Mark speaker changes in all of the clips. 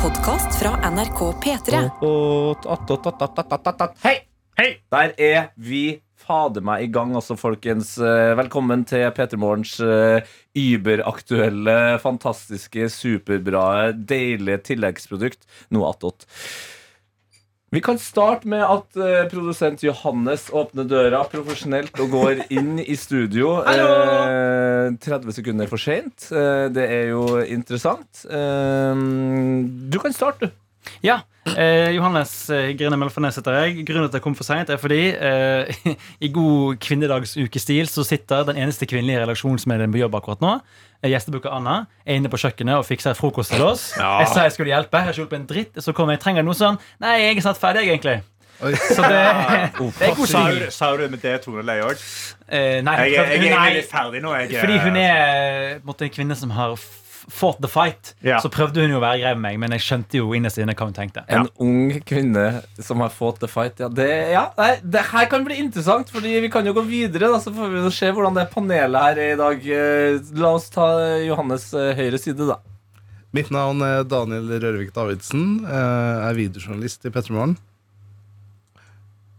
Speaker 1: podkast fra NRK P3.
Speaker 2: Hei! Hei! Der er vi fader meg i gang, altså, folkens. Eh, Velkommen til P3 Morgens eh, überaktuelle, fantastiske, superbra, deilige tilleggsprodukt, noe attåt. Vi kan starte med at eh, produsent Johannes åpner døra profesjonelt og går inn i studio. Eh, 30 sekunder for seint. Eh, det er jo interessant. Eh, du kan starte, du.
Speaker 3: Ja, eh, Johannes eh, Grine Melfarnes heter jeg. Grunnen til at jeg kom for seint, er fordi eh, i god kvinnedagsuke-stil så sitter den eneste kvinnelige redaksjonsmedlemmen på jobb akkurat nå. eh, Gjestebukker Anna er inne på kjøkkenet og fikser frokost til oss. Jeg sa jeg skulle hjelpe, jeg har ikke hjulpet en dritt. Så kom jeg, trenger noe sånn. Nei, jeg er snart ferdig, jeg, egentlig. Så det, det er god
Speaker 4: Sa
Speaker 3: stil.
Speaker 4: du, sa du det med det toneleie òg?
Speaker 3: Eh, nei,
Speaker 4: Jeg, jeg, jeg, er
Speaker 3: nei,
Speaker 4: litt ferdig eh, nå. Jeg,
Speaker 3: fordi hun er eh, på en måte, en kvinne som har f- fought the fight.
Speaker 4: Ja.
Speaker 3: Så prøvde hun jo å være grei med meg, men jeg skjønte jo innerst inne hva hun tenkte.
Speaker 2: En ung kvinne som har fått the fight. Ja, det, ja nei, det her kan bli interessant, Fordi vi kan jo gå videre. Da, så får vi jo se hvordan det panelet her er i dag. Eh, La oss ta Johannes eh, høyre side, da.
Speaker 5: Mitt navn er Daniel Rørvik Davidsen. Jeg er videojournalist i Petremorgen.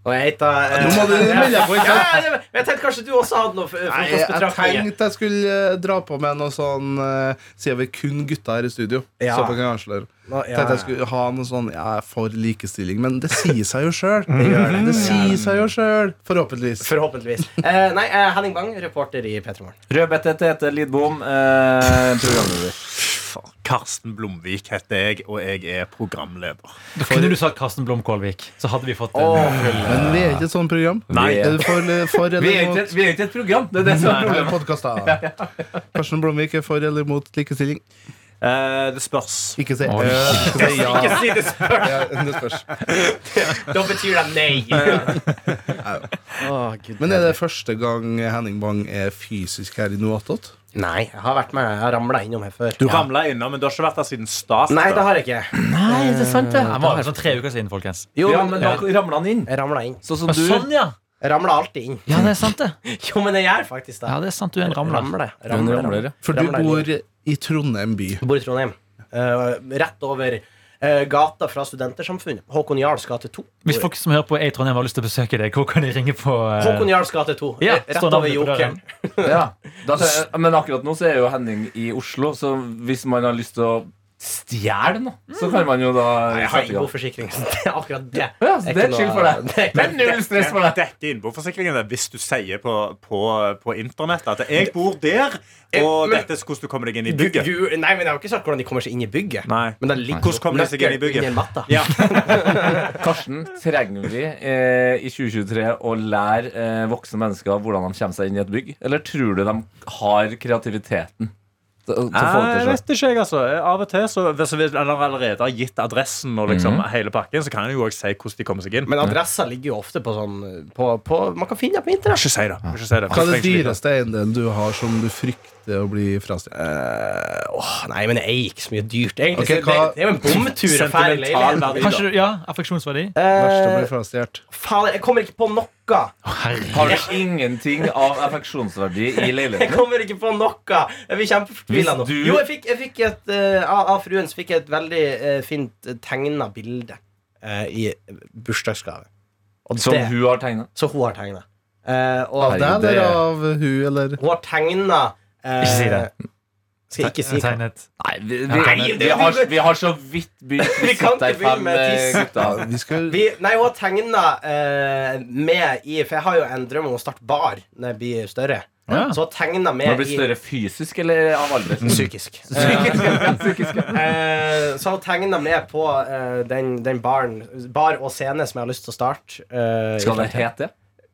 Speaker 6: Og jeg heter eh,
Speaker 5: Nå må du melde deg på, ikke
Speaker 6: ja,
Speaker 5: sant?
Speaker 6: ja, men Jeg tenkte kanskje du også hadde noe eh,
Speaker 5: Nei, jeg
Speaker 6: frokostbetraktninger.
Speaker 5: tenkte jeg skulle eh, dra på med noe sånn eh, Siden vi er kun gutta her i studio,
Speaker 6: Ja.
Speaker 5: så på kan jeg avsløre.
Speaker 6: Nå, ja,
Speaker 5: Tenkte jeg skulle ha noe sånn Jeg er for likestilling, men det sier seg jo sjøl. Det sier seg jo sjøl. Forhåpentligvis.
Speaker 6: Forhåpentligvis. Eh, nei, eh, Henning Bang, reporter i P3 Morgen.
Speaker 2: Rødbette Tete Lidbom, eh, programleder.
Speaker 4: Karsten Blomvik heter jeg, og jeg er programleder.
Speaker 3: Da kunne du sagt Karsten Blomkålvik, så hadde vi fått en full
Speaker 5: Men vi er ikke et sånt program.
Speaker 4: Nei.
Speaker 5: Er du for, for eller
Speaker 2: Vi er ikke
Speaker 5: mot
Speaker 2: et, vi er ikke et program. Det er det som er
Speaker 5: Nei,
Speaker 2: problemet.
Speaker 5: podcast, da. Karsten Blomvik er for eller mot likestilling?
Speaker 4: Eh, det spørs.
Speaker 5: Ikke si øh, ikke si ja.
Speaker 6: Ikke si det spør!
Speaker 5: Ja, Det spørs.
Speaker 6: Da betyr det nei. Åh, Gud.
Speaker 5: Men er det første gang Henning Bang er fysisk her i Noatot?
Speaker 6: Nei, jeg har vært med Jeg har ramla innom her før.
Speaker 4: Du ramla innom, men du har ikke vært der siden stas?
Speaker 6: Nei, det har jeg ikke.
Speaker 3: Nei, det er sant det Han var her sånn tre uker siden, folkens
Speaker 6: Jo,
Speaker 2: Ja, men da ramler han inn.
Speaker 6: Jeg ramla inn.
Speaker 2: Sånn som
Speaker 3: Men
Speaker 2: du.
Speaker 3: sånn, ja
Speaker 6: Jeg ramla alltid inn.
Speaker 3: Ja, det er sant det
Speaker 6: Jo, men jeg gjør faktisk det.
Speaker 3: Ja, det er sant, du er en ramler
Speaker 6: Ramler.
Speaker 2: Du
Speaker 6: ramler,
Speaker 2: ramler,
Speaker 6: ramler.
Speaker 2: ja.
Speaker 5: For du
Speaker 6: Ramler.
Speaker 5: bor i Trondheim by.
Speaker 6: Jeg bor i Trondheim. Eh, rett over eh, gata fra Studentersamfunnet. Håkon Jarls gate 2.
Speaker 3: Hvis folk som hører på er i Trondheim har lyst til å besøke deg Hvor kan de ringe på eh,
Speaker 6: Håkon Jarls gate 2.
Speaker 3: Ja,
Speaker 6: rett
Speaker 3: står
Speaker 6: over
Speaker 3: navnet på døren.
Speaker 6: jokeren.
Speaker 2: Ja. Da, men akkurat nå så er jo Henning i Oslo, så hvis man har lyst til å stjele noe, så kan man jo da
Speaker 6: Jeg har
Speaker 2: sette i
Speaker 6: ikke god
Speaker 2: gang.
Speaker 6: forsikring. så Det er akkurat det.
Speaker 2: Ja, så det er
Speaker 6: ikke
Speaker 2: chill
Speaker 6: noe-
Speaker 2: for
Speaker 6: Det
Speaker 2: deg.
Speaker 6: er
Speaker 2: Det er
Speaker 6: ikke-
Speaker 2: null stress for deg.
Speaker 4: Dette er innboforsikringen det, hvis du sier på, på, på internett at 'jeg bor der', og
Speaker 6: Men-
Speaker 4: dette er hvordan du kommer deg inn i
Speaker 6: Gu-
Speaker 4: bygget.
Speaker 6: gu- Nei, men Jeg har ikke sagt hvordan de kommer seg inn i bygget.
Speaker 4: Nei.
Speaker 6: Men det ligger
Speaker 4: Hvordan kommer de seg inn
Speaker 6: nøkkelen
Speaker 4: i bygget?
Speaker 6: under matta.
Speaker 4: Ja.
Speaker 2: Karsten, trenger vi eh, i 2023 å lære eh, voksne mennesker hvordan de kommer seg inn i et bygg? Eller tror du de har kreativiteten til, til å få det
Speaker 4: Jeg
Speaker 2: til selv?
Speaker 4: vet ikke, jeg, altså. Av og til, så, hvis vi allerede har gitt adressen og liksom hele pakken, så kan jeg jo òg si hvordan de kommer seg inn.
Speaker 6: Men adressa ligger jo ofte på sånn på, på, Man kan finne det på internett.
Speaker 4: ikke si det. Ikke si det.
Speaker 5: Hva er det dyreste eiendelen du har som du frykter å bli frastjålet?
Speaker 6: Eh, åh, nei, men jeg eier ikke så mye dyrt, egentlig.
Speaker 5: Ok,
Speaker 6: så
Speaker 5: hva-
Speaker 6: det, det er jo en bomtur å fære
Speaker 4: Sentimental
Speaker 6: leilighet.
Speaker 4: verdi, da.
Speaker 3: Kanskje du, ja, affeksjonsverdi Å,
Speaker 5: Verst å
Speaker 6: Eh,
Speaker 5: bli frastjålet?
Speaker 6: Fader, jeg kommer ikke på noe.
Speaker 3: herre
Speaker 2: Har du ingenting av affeksjonsverdi i
Speaker 6: Jeg
Speaker 2: leiligheten?
Speaker 6: kommer ikke på noe. Jeg blir kjempefortvila
Speaker 2: Hvis
Speaker 6: nå.
Speaker 2: du-
Speaker 6: Jo, jeg fikk, jeg fikk et, eh, av, av fruen så fikk jeg et veldig eh, fint tegna bilde eh, i bursdagsgave. Og
Speaker 2: Som
Speaker 6: det,
Speaker 2: hun har tegna?
Speaker 6: Så hun har tegna. Eh,
Speaker 5: Av
Speaker 6: og
Speaker 2: Herregud,
Speaker 5: deg
Speaker 2: det-
Speaker 5: eller av hun, eller?
Speaker 6: hun har tegna
Speaker 3: Ikke si det.
Speaker 6: Skal jeg ikke si det?
Speaker 3: Tegnet
Speaker 2: Nei, vi, vi,
Speaker 3: Nei,
Speaker 2: vi,
Speaker 6: det- vi-
Speaker 2: har, vi har så vidt begynt
Speaker 6: Vi kan ikke begynne med tiss.
Speaker 2: gutta.
Speaker 5: Ja, vi skal
Speaker 6: Vi, nei, hun har tegna eh, med i For jeg har jo en drøm om å starte bar når jeg blir større.
Speaker 3: Ja.
Speaker 6: Så hun har tegna
Speaker 2: Må det
Speaker 6: med
Speaker 2: bli
Speaker 6: i
Speaker 2: større fysisk eller av alder?
Speaker 6: Psykisk. Eh, eh, så han tegna med på eh, den, den baren, bar og scene som jeg har lyst til å starte. eh, i
Speaker 2: Skal det
Speaker 6: fremtiden.
Speaker 2: hete det?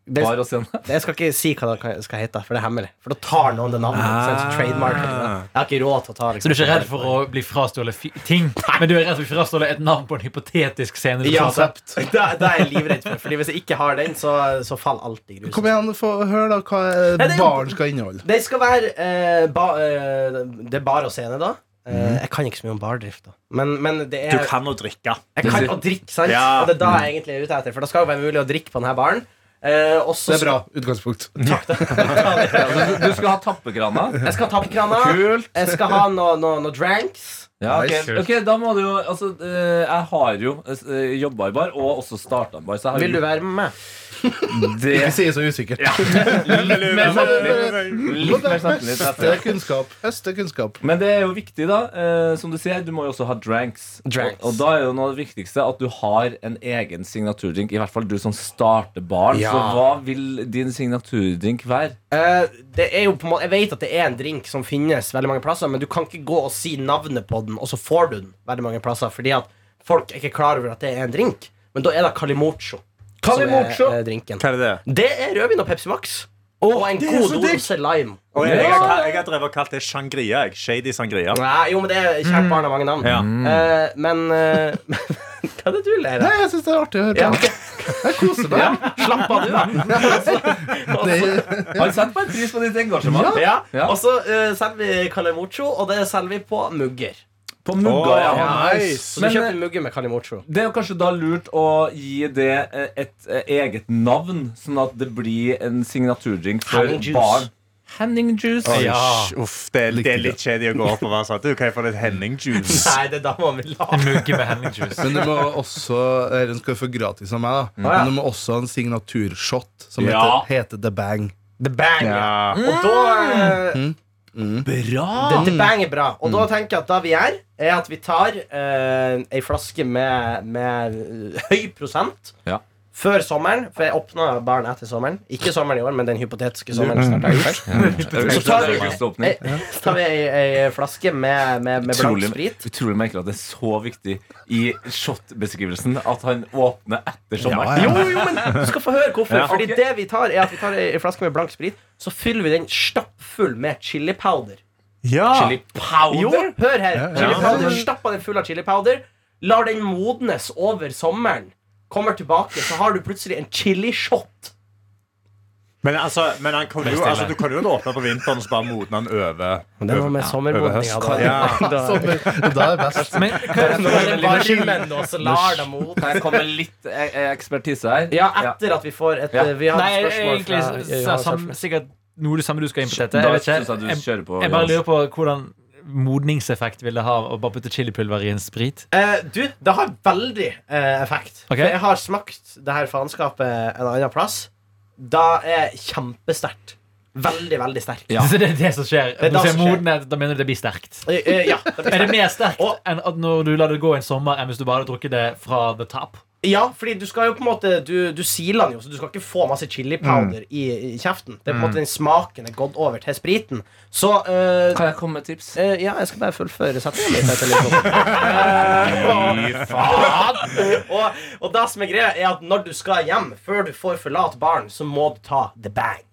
Speaker 6: Det-
Speaker 2: Bare å se den.
Speaker 6: Jeg skal ikke si hva det kan- skal hete, for det er hemmelig. For da tar noen det navnet. så er det så trademark. Jeg har ikke råd til å ta liksom.
Speaker 3: Ah. Så du er ikke redd for å bli frastålet fi- ting Men du er redd for å bli frastålet et navn på en hypotetisk scene du
Speaker 6: ja, altså.
Speaker 3: prater.
Speaker 6: det, det er jeg livredd for. Fordi Hvis jeg ikke har den, så, så faller alt i grus.
Speaker 5: Kom igjen, få hør da hva eh,
Speaker 6: Nei, det er-
Speaker 5: baren skal inneholde.
Speaker 6: Det skal være eh, ba, eh, Det er bar og scene, da. Eh, jeg kan ikke så mye om bardrift, da. Men, men det er
Speaker 4: Mhm. Du kan å drikke.
Speaker 6: Jeg kan å drikke, sant?
Speaker 4: Ja.
Speaker 6: Og det er da jeg egentlig er ute etter. For da skal det være mulig å drikke på denne baren. Eh, og så
Speaker 5: Det er bra utgangspunkt.
Speaker 2: Du skal ha tappekrana.
Speaker 6: Jeg skal ha tappkrana. Jeg skal ha noe no, no dranks.
Speaker 2: Ja, ok.
Speaker 5: Nice.
Speaker 2: ok, da må du jo Altså, eh, jeg har jo eh, jobba i bar, og også starta en bar, så jeg har
Speaker 6: Vil du være med meg?
Speaker 2: gjort det
Speaker 5: Ikke si det så usikkert.
Speaker 2: litt mer samtidig. Litt mer samtidig,
Speaker 5: Høste
Speaker 2: jeg tror.
Speaker 5: kunnskap. Høste kunnskap.
Speaker 2: Men det er jo viktig, da. eh, som du sier, du må jo også ha dranks.
Speaker 6: Dranks.
Speaker 2: Og, og da er jo noe av det viktigste at du har en egen signaturdrink. I hvert fall du som starter baren.
Speaker 6: Ja.
Speaker 2: Så hva vil din signaturdrink være?
Speaker 6: Eh, det er jo på en måte, jeg vet at det er en drink som finnes veldig mange plasser, men du kan ikke gå og si navnet på den, og så får du den veldig mange plasser, fordi at folk er ikke klar over at det er en drink. Men da er det Calimocho. som er,
Speaker 2: Calimocho?
Speaker 6: eh, drinken.
Speaker 4: Hva er det?
Speaker 6: Det er rødvin og Pepsi Max. og en
Speaker 4: er
Speaker 6: god
Speaker 4: så digg.
Speaker 6: dose lime.
Speaker 4: Og jeg, jeg, har, jeg har drevet og kalt det shangria. Jeg. Shady sangria.
Speaker 6: Nei, jo, men det er kjært barn har mange navn.
Speaker 4: Ja.
Speaker 6: Eh, men eh, Hva er det du ler
Speaker 5: Nei,
Speaker 6: av?
Speaker 5: jeg syns det er artig å høre
Speaker 6: Ja,
Speaker 5: på.
Speaker 6: ok.
Speaker 5: Jeg koser meg.
Speaker 6: Slapp av, du, da.
Speaker 5: altså. Det,
Speaker 2: Har du satt på en pris på ditt engasjement?
Speaker 6: Ja.
Speaker 2: Ja.
Speaker 6: Og så eh, selger vi Calimocho, og det selger vi på mugger.
Speaker 2: På mugga, ja.
Speaker 4: Åh,
Speaker 6: Så
Speaker 4: nice.
Speaker 6: du
Speaker 2: Men, eh,
Speaker 6: kjøper mugger med Calimocho.
Speaker 2: Det er jo kanskje da lurt å gi det eh, et eh, eget navn, sånn at det blir en signaturdrink for
Speaker 6: Henning juice.
Speaker 2: barn. Henning juice.
Speaker 4: Ja.
Speaker 2: Ja.
Speaker 4: Uff, det, er- det er litt kjedelig å gå opp og være sånn Du, kan jeg få litt Henning-juice?
Speaker 6: Nei, det er da man vil ha.
Speaker 3: Mugge med henningjuice.
Speaker 5: men du må også Den skal du få gratis av meg, da.
Speaker 6: ja.
Speaker 5: Men du må også ha en signaturshot som
Speaker 2: Ja.
Speaker 5: heter, heter The Bang.
Speaker 6: The Bang.
Speaker 4: Ja.
Speaker 2: Mm.
Speaker 6: Og da eh,
Speaker 2: Bra!
Speaker 6: The, the Bang er bra. Og da
Speaker 2: Mm.
Speaker 6: tenker jeg at da vi gjør, er at vi tar eh, ei flaske med, med høy prosent
Speaker 2: Ja.
Speaker 6: før sommeren. For jeg åpna baren etter sommeren. Ikke sommeren i år, men den hypotetiske sommeren. Snart er ferdig.
Speaker 2: Så tar vi auguståpning.
Speaker 6: Eh, Så tar vi ei, ei flaske med, med, med blank
Speaker 2: Utrolig,
Speaker 6: sprit.
Speaker 2: utrolig merkelig at det er så viktig i shotbeskrivelsen at han åpner etter sånn sommeren.
Speaker 6: Jo, jo, men du skal få høre hvorfor.
Speaker 2: Ja, ok.
Speaker 6: Fordi det vi tar, er at vi tar ei ei flaske med blank sprit, så fyller vi den stappfull med chili powder.
Speaker 4: Ja.
Speaker 2: Chili powder.
Speaker 6: Jo, hør her. Chili
Speaker 4: Ja,
Speaker 6: powder, Stappa den full av chili powder. Lar den modnes over sommeren. Kommer tilbake, så har du plutselig en chili shot.
Speaker 4: Men, altså, men han kan jo,
Speaker 3: stille.
Speaker 4: altså, du kan jo åpne på vinteren og så bare modne den over.
Speaker 6: Det er noe med
Speaker 4: sommermodninga, da. Ja.
Speaker 5: Så, da er det best.
Speaker 3: Men hva er det
Speaker 2: Kan jeg komme med litt eh, eh, ekspertise her?
Speaker 6: Ja, etter at vi får et
Speaker 2: Ja.
Speaker 6: Vi har
Speaker 3: Nei,
Speaker 6: et spørsmål fra
Speaker 3: egentlig s-
Speaker 6: Johannes
Speaker 3: sam,
Speaker 6: Hafsnes.
Speaker 3: sikkert noe det samme du skal inn på dette.
Speaker 2: Da
Speaker 3: Jeg, vet
Speaker 2: synes jeg du
Speaker 3: ikke. jeg,
Speaker 2: kjører på.
Speaker 3: jeg bare
Speaker 2: Johannes.
Speaker 3: lurer på hvordan modningseffekt vil det ha å bare putte chilipulver i en sprit?
Speaker 6: Eh, du, det har veldig eh, effekt.
Speaker 3: Ok.
Speaker 6: For jeg har smakt det her faenskapet en annen plass. Da er kjempesterkt. Veldig, veldig sterkt.
Speaker 2: Ja.
Speaker 3: Så det er det som skjer.
Speaker 6: er det
Speaker 3: Når du sier
Speaker 6: som skjer.
Speaker 3: modenhet, da mener du det blir sterkt.
Speaker 6: Eh, eh, ja. det blir
Speaker 3: Er det
Speaker 6: sterkt.
Speaker 3: mer sterkt
Speaker 6: Og-
Speaker 3: enn at når du lar det gå en sommer, enn hvis du bare hadde drukket det fra the top?
Speaker 6: ja, fordi du skal jo på en måte Du, du siler den jo, så du skal ikke få masse chili powder
Speaker 4: Mm.
Speaker 6: i, i kjeften. Det er på en måte den smaken er gått over til spriten. Så eh,
Speaker 2: Kan jeg komme med tips?
Speaker 6: eh, Ja, jeg skal bare fullføre setningen litt. Etter litt Eh, og, og, og det som er greia, er at når du skal hjem, før du får forlate baren, så må du ta the bang.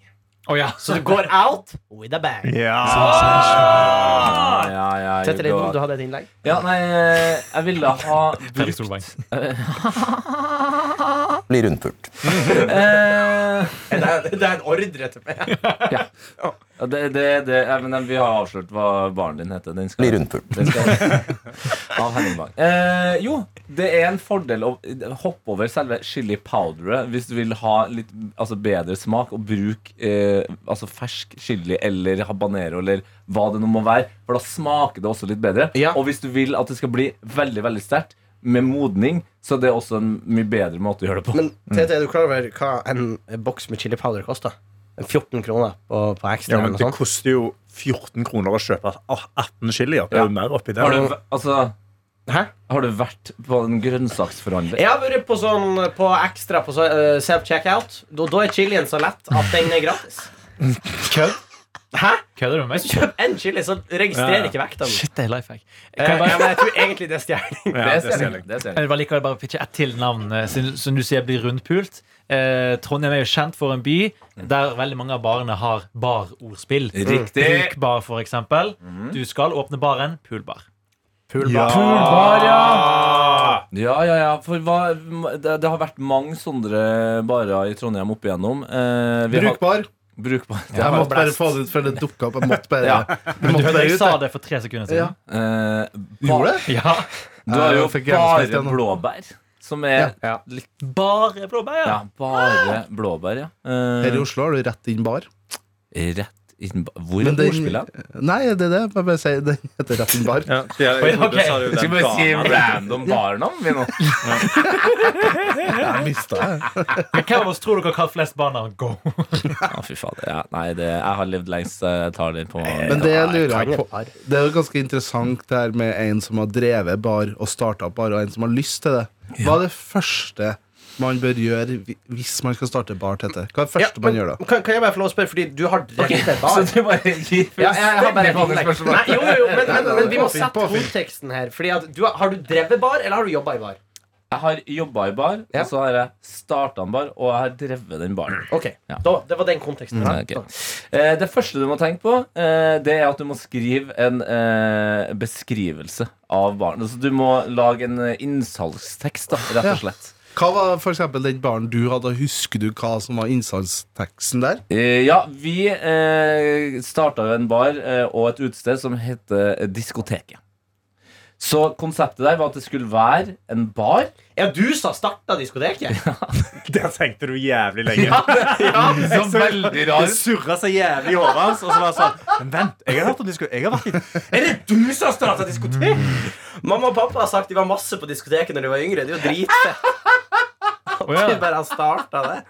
Speaker 3: Oh, ja.
Speaker 6: Så du går out with a bang.
Speaker 2: Sånn, Ja, ja, ja,
Speaker 6: Tete
Speaker 2: jo,
Speaker 6: Lidbom,
Speaker 2: bra.
Speaker 6: du hadde et innlegg.
Speaker 2: Ja, nei, eh, jeg ville ha
Speaker 3: Terje Solvang.
Speaker 2: brukt eh,
Speaker 6: Det er, det er en ordre til meg.
Speaker 2: ja, det, det, det, ja, men den- Vi har avslørt hva barnet din heter. Den skal, Blir Av Henning Bang. Eh, jo, det er en fordel å hoppe over selve chili powderet hvis du vil ha litt altså, bedre smak, og bruk eh, altså, fersk chili eller habanero eller hva det nå må være. For da smaker det også litt bedre.
Speaker 6: Ja.
Speaker 2: Og hvis du vil at det skal bli veldig veldig sterkt med modning, så er det også en mye bedre måte å gjøre det på.
Speaker 6: Men
Speaker 4: Mm.
Speaker 6: Tete, er du klar over hva en boks med chili powder koster? En 14 kroner på, på ekstra.
Speaker 4: Ja, men
Speaker 6: eller
Speaker 4: det
Speaker 6: noe
Speaker 2: sånn.
Speaker 6: sånt.
Speaker 4: koster jo 14 kroner å kjøpe åh, 18 chilier. Det er
Speaker 2: Ja.
Speaker 4: jo mer oppi
Speaker 2: har,
Speaker 4: der.
Speaker 2: du, altså,
Speaker 6: Hæ?
Speaker 2: har du vært på en grønnsaksforhandler?
Speaker 6: Jeg har vært på sånn på ekstra på så, eh, self-checkout. Da, da er chilien så lett at den er gratis.
Speaker 5: Kødd?
Speaker 6: Hæ?
Speaker 3: Kødder du med meg?
Speaker 6: Kjøp en chili, så registrer
Speaker 4: Ja, ja.
Speaker 6: ikke vekta mi.
Speaker 3: Shit, det er life hack.
Speaker 6: Eh,
Speaker 3: Kan jeg
Speaker 6: ja,
Speaker 3: bare,
Speaker 6: men jeg tror egentlig det er stjeling.
Speaker 4: Ja, det
Speaker 2: ser
Speaker 4: ser
Speaker 2: jeg.
Speaker 4: jeg.
Speaker 2: Det ser jeg.
Speaker 3: jeg bare liker å bare pitche ett til navn, eh, siden- som du sier blir rundpult. Eh, Trondheim er jo kjent for en by der veldig mange av barene har barordspill.
Speaker 5: Mm.
Speaker 2: Riktig.
Speaker 3: Brukbar, for eksempel.
Speaker 6: Mhm.
Speaker 3: Du skal åpne baren, poolbar.
Speaker 4: Ja.
Speaker 2: Ja, ja, ja. For hva, det, det har vært mange sånne barer i Trondheim opp igjennom. Eh, vi har-
Speaker 5: Brukbar.
Speaker 2: Brukbar. Det
Speaker 5: Jeg
Speaker 2: har
Speaker 5: måtte bare få det ut før det dukka opp. Jeg måtte bare,
Speaker 2: Ja.
Speaker 5: jeg måtte bare
Speaker 3: Jeg
Speaker 5: ut.
Speaker 3: sa
Speaker 5: jeg.
Speaker 3: det for tre sekunder
Speaker 5: Ja.
Speaker 3: siden.
Speaker 2: Eh,
Speaker 5: Gjorde det?
Speaker 3: Ja.
Speaker 2: Du har
Speaker 5: Jeg
Speaker 2: jo
Speaker 5: fikk hjernesmitt
Speaker 2: bare
Speaker 5: igjen nå.
Speaker 2: blåbær. Som er
Speaker 6: Ja.
Speaker 2: litt
Speaker 3: Bare blåbær, ja.
Speaker 2: Ja, bare blåbær, ja. Eh,
Speaker 5: Her i Oslo har du rett inn bar.
Speaker 2: rett Hvor er
Speaker 5: Men den-
Speaker 2: ordspillet?
Speaker 5: Nei, det er det. Jeg bare sier Den heter Retten Bar.
Speaker 4: Ja, ja,
Speaker 2: Ok,
Speaker 4: du sa det jo
Speaker 2: Jeg skal
Speaker 4: den
Speaker 2: bare si
Speaker 4: dagen.
Speaker 2: random barnavn vi nå.
Speaker 5: Jeg mista det.
Speaker 3: Hvem av oss tror dere har kalt flest barna Go?
Speaker 2: Ja, fy fader. Ja, nei, det, jeg har levd lengst. så Jeg tar den på
Speaker 5: Men det jeg lurer
Speaker 6: kan
Speaker 5: jeg
Speaker 6: et
Speaker 5: på
Speaker 6: par.
Speaker 5: Det er jo ganske interessant det her med en som har drevet bar og starta bar, og en som har lyst til det. Hva er det første man bør gjøre hvi- hvis man skal starte bar, Tete? Hva er det første
Speaker 6: men
Speaker 5: man gjør da?
Speaker 6: Kan, kan jeg bare få lov å spørre, fordi du har drevet et barn?
Speaker 2: du bare gir
Speaker 6: Ja, jeg, jeg har bare et innlegg. Nei, jo, jo, men, men, men vi må
Speaker 5: Påfyll,
Speaker 6: sette
Speaker 5: påfyll.
Speaker 6: konteksten her. Fordi at du, har- har du drevet bar, eller har du jobba i bar?
Speaker 2: Jeg har jobba i bar,
Speaker 6: Ja.
Speaker 2: og så har jeg starta en bar, og jeg har drevet den baren.
Speaker 6: Ok,
Speaker 2: Ja.
Speaker 6: da, Det var den konteksten.
Speaker 2: Mm,
Speaker 6: Ja.
Speaker 2: ok. Eh, Det første du må tenke på, eh, det er at du må skrive en eh, beskrivelse av baren. Altså, du må lage en eh, innsalgstekst, da, rett
Speaker 5: Ja.
Speaker 2: og slett.
Speaker 5: Hva var for eksempel den baren du hadde? Husker du hva som var innsatsteksten der?
Speaker 2: Eh, ja, vi eh, starta jo en bar eh, og et utested som heter eh, Diskoteket. Så konseptet der var at det skulle være en bar.
Speaker 6: Ja, du sa starta diskoteket.
Speaker 4: Der tenkte du jævlig lenge.
Speaker 2: Så veldig
Speaker 4: Det surra seg jævlig i hodet hans. Og så var det sånn Men vent, jeg har hørt om disko... Jeg har vært i
Speaker 6: Er det du som har starta diskotek? Mamma og pappa har sagt de var masse på diskoteket når de var yngre. Det er jo dritfett.
Speaker 3: Å, ja.
Speaker 6: Du bare har startet det.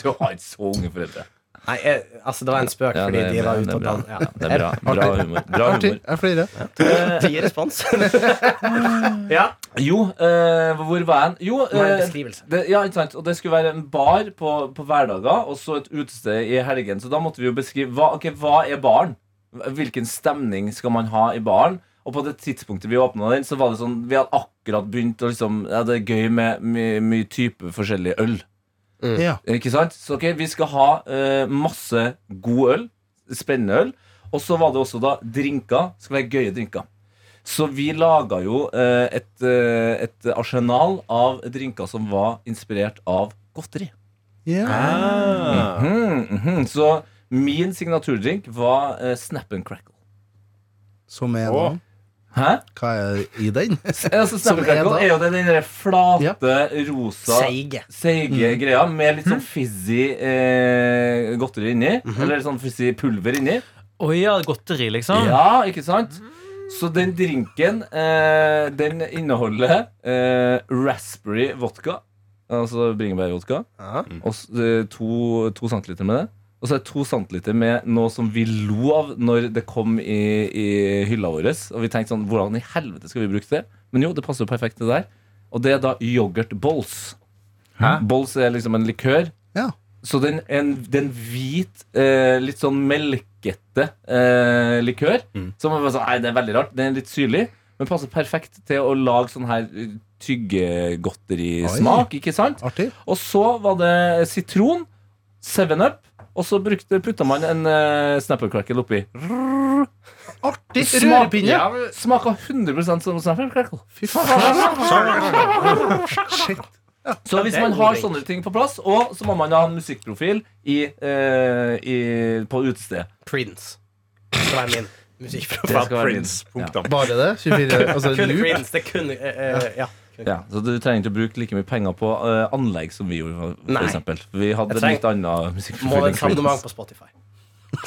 Speaker 2: Du har ikke så unge foreldre.
Speaker 6: Nei, jeg, altså, det var en spøk,
Speaker 2: Ja,
Speaker 6: fordi
Speaker 2: det-
Speaker 6: de var
Speaker 2: det-
Speaker 6: ute
Speaker 2: det er
Speaker 6: og
Speaker 2: bra.
Speaker 6: dansa. Ja.
Speaker 2: Det er bra, bra humor. Bra humor.
Speaker 5: Artig. Jeg flirer.
Speaker 6: Ti respons. ja.
Speaker 2: Jo, eh, hvor var jeg? Jo,
Speaker 6: Hva er
Speaker 2: eh,
Speaker 6: en beskrivelse?
Speaker 2: det, ja, ikke sant? Og det skulle være en bar på, på hverdager, og så et utested i helgen. Så da måtte vi jo beskrive hva, ok, hva er baren? Hvilken stemning skal man ha i baren? Og på det tidspunktet vi åpna den, så var det sånn Vi hadde akkurat begynt å liksom Ja, det er gøy med mye mye type forskjellig øl.
Speaker 5: Ja.
Speaker 2: Ikke sant? Så ok, vi skal ha eh, masse god øl. Spennende øl. Og så var det også da drinker. Skal være gøye drinker. Så vi laga jo eh, et, eh, et arsenal av drinker som var inspirert av godteri.
Speaker 5: Ja. Mm,
Speaker 2: Mhm,
Speaker 5: mm-hmm.
Speaker 2: mhm. Så min signaturdrink var eh, Snap and Crackle.
Speaker 5: Som er
Speaker 4: Åh.
Speaker 5: nå.
Speaker 2: Hæ?
Speaker 5: Hva er i den?
Speaker 2: S- Altså, Snap and
Speaker 5: Som er
Speaker 2: Crackle
Speaker 5: da-
Speaker 2: er jo den der flate, rosa
Speaker 6: Seige.
Speaker 2: seige
Speaker 5: Mm.
Speaker 2: greia med litt sånn fizzy eh, godteri inni.
Speaker 5: Mm-hmm.
Speaker 2: Eller sånn fizzy pulver inni.
Speaker 3: Å ja, godteri, liksom?
Speaker 2: Ja, ikke sant? Så den drinken, eh, den inneholder eh, raspberry vodka. Altså bringebærvodka. Og s- eh, to, to centiliter med det. Og så er det to centiliter med noe som vi lo av når det kom i, i hylla vår. Og vi tenkte sånn, hvordan i helvete skal vi bruke det? Men jo, det passer jo perfekt til det der. Og det er da yoghurtbolls. Bolls er liksom en likør.
Speaker 5: Ja.
Speaker 2: Så den, en, den hvit, eh, litt sånn melkete eh, likør Som er bare sånn, nei, det er veldig rart, den er litt syrlig Men passer perfekt til å lage sånn her eh, tyggegodterismak, ikke sant?
Speaker 5: Artig.
Speaker 2: Og så var det sitron, 7-up Og så brukte, puttet man en eh, snapper crackle oppi
Speaker 5: Artig
Speaker 2: Smak-
Speaker 5: rørepinne!
Speaker 2: ja, men Smaket 100% som snapper crackle
Speaker 5: Fy faen. Shit.
Speaker 2: Så hvis man har sånne ting på plass Og så må man ha en musikkprofil i, eh, i, på utested
Speaker 6: Prince. Det skal være min musikkprofil.
Speaker 2: Det skal være
Speaker 4: Prince.
Speaker 2: min.
Speaker 4: Punktum.
Speaker 5: Bare det? 24 Altså
Speaker 6: Kun
Speaker 5: loop?
Speaker 6: Prince. Det er kun eh, eh, Ja.
Speaker 2: Ja, så Du trenger ikke å bruke like mye penger på eh, anlegg som vi gjorde. For,
Speaker 6: Nei.
Speaker 2: for eksempel. Vi hadde
Speaker 6: Jeg trenger-
Speaker 2: litt annen
Speaker 6: Må ha et abonnement
Speaker 2: musikkprofil.
Speaker 6: på Spotify.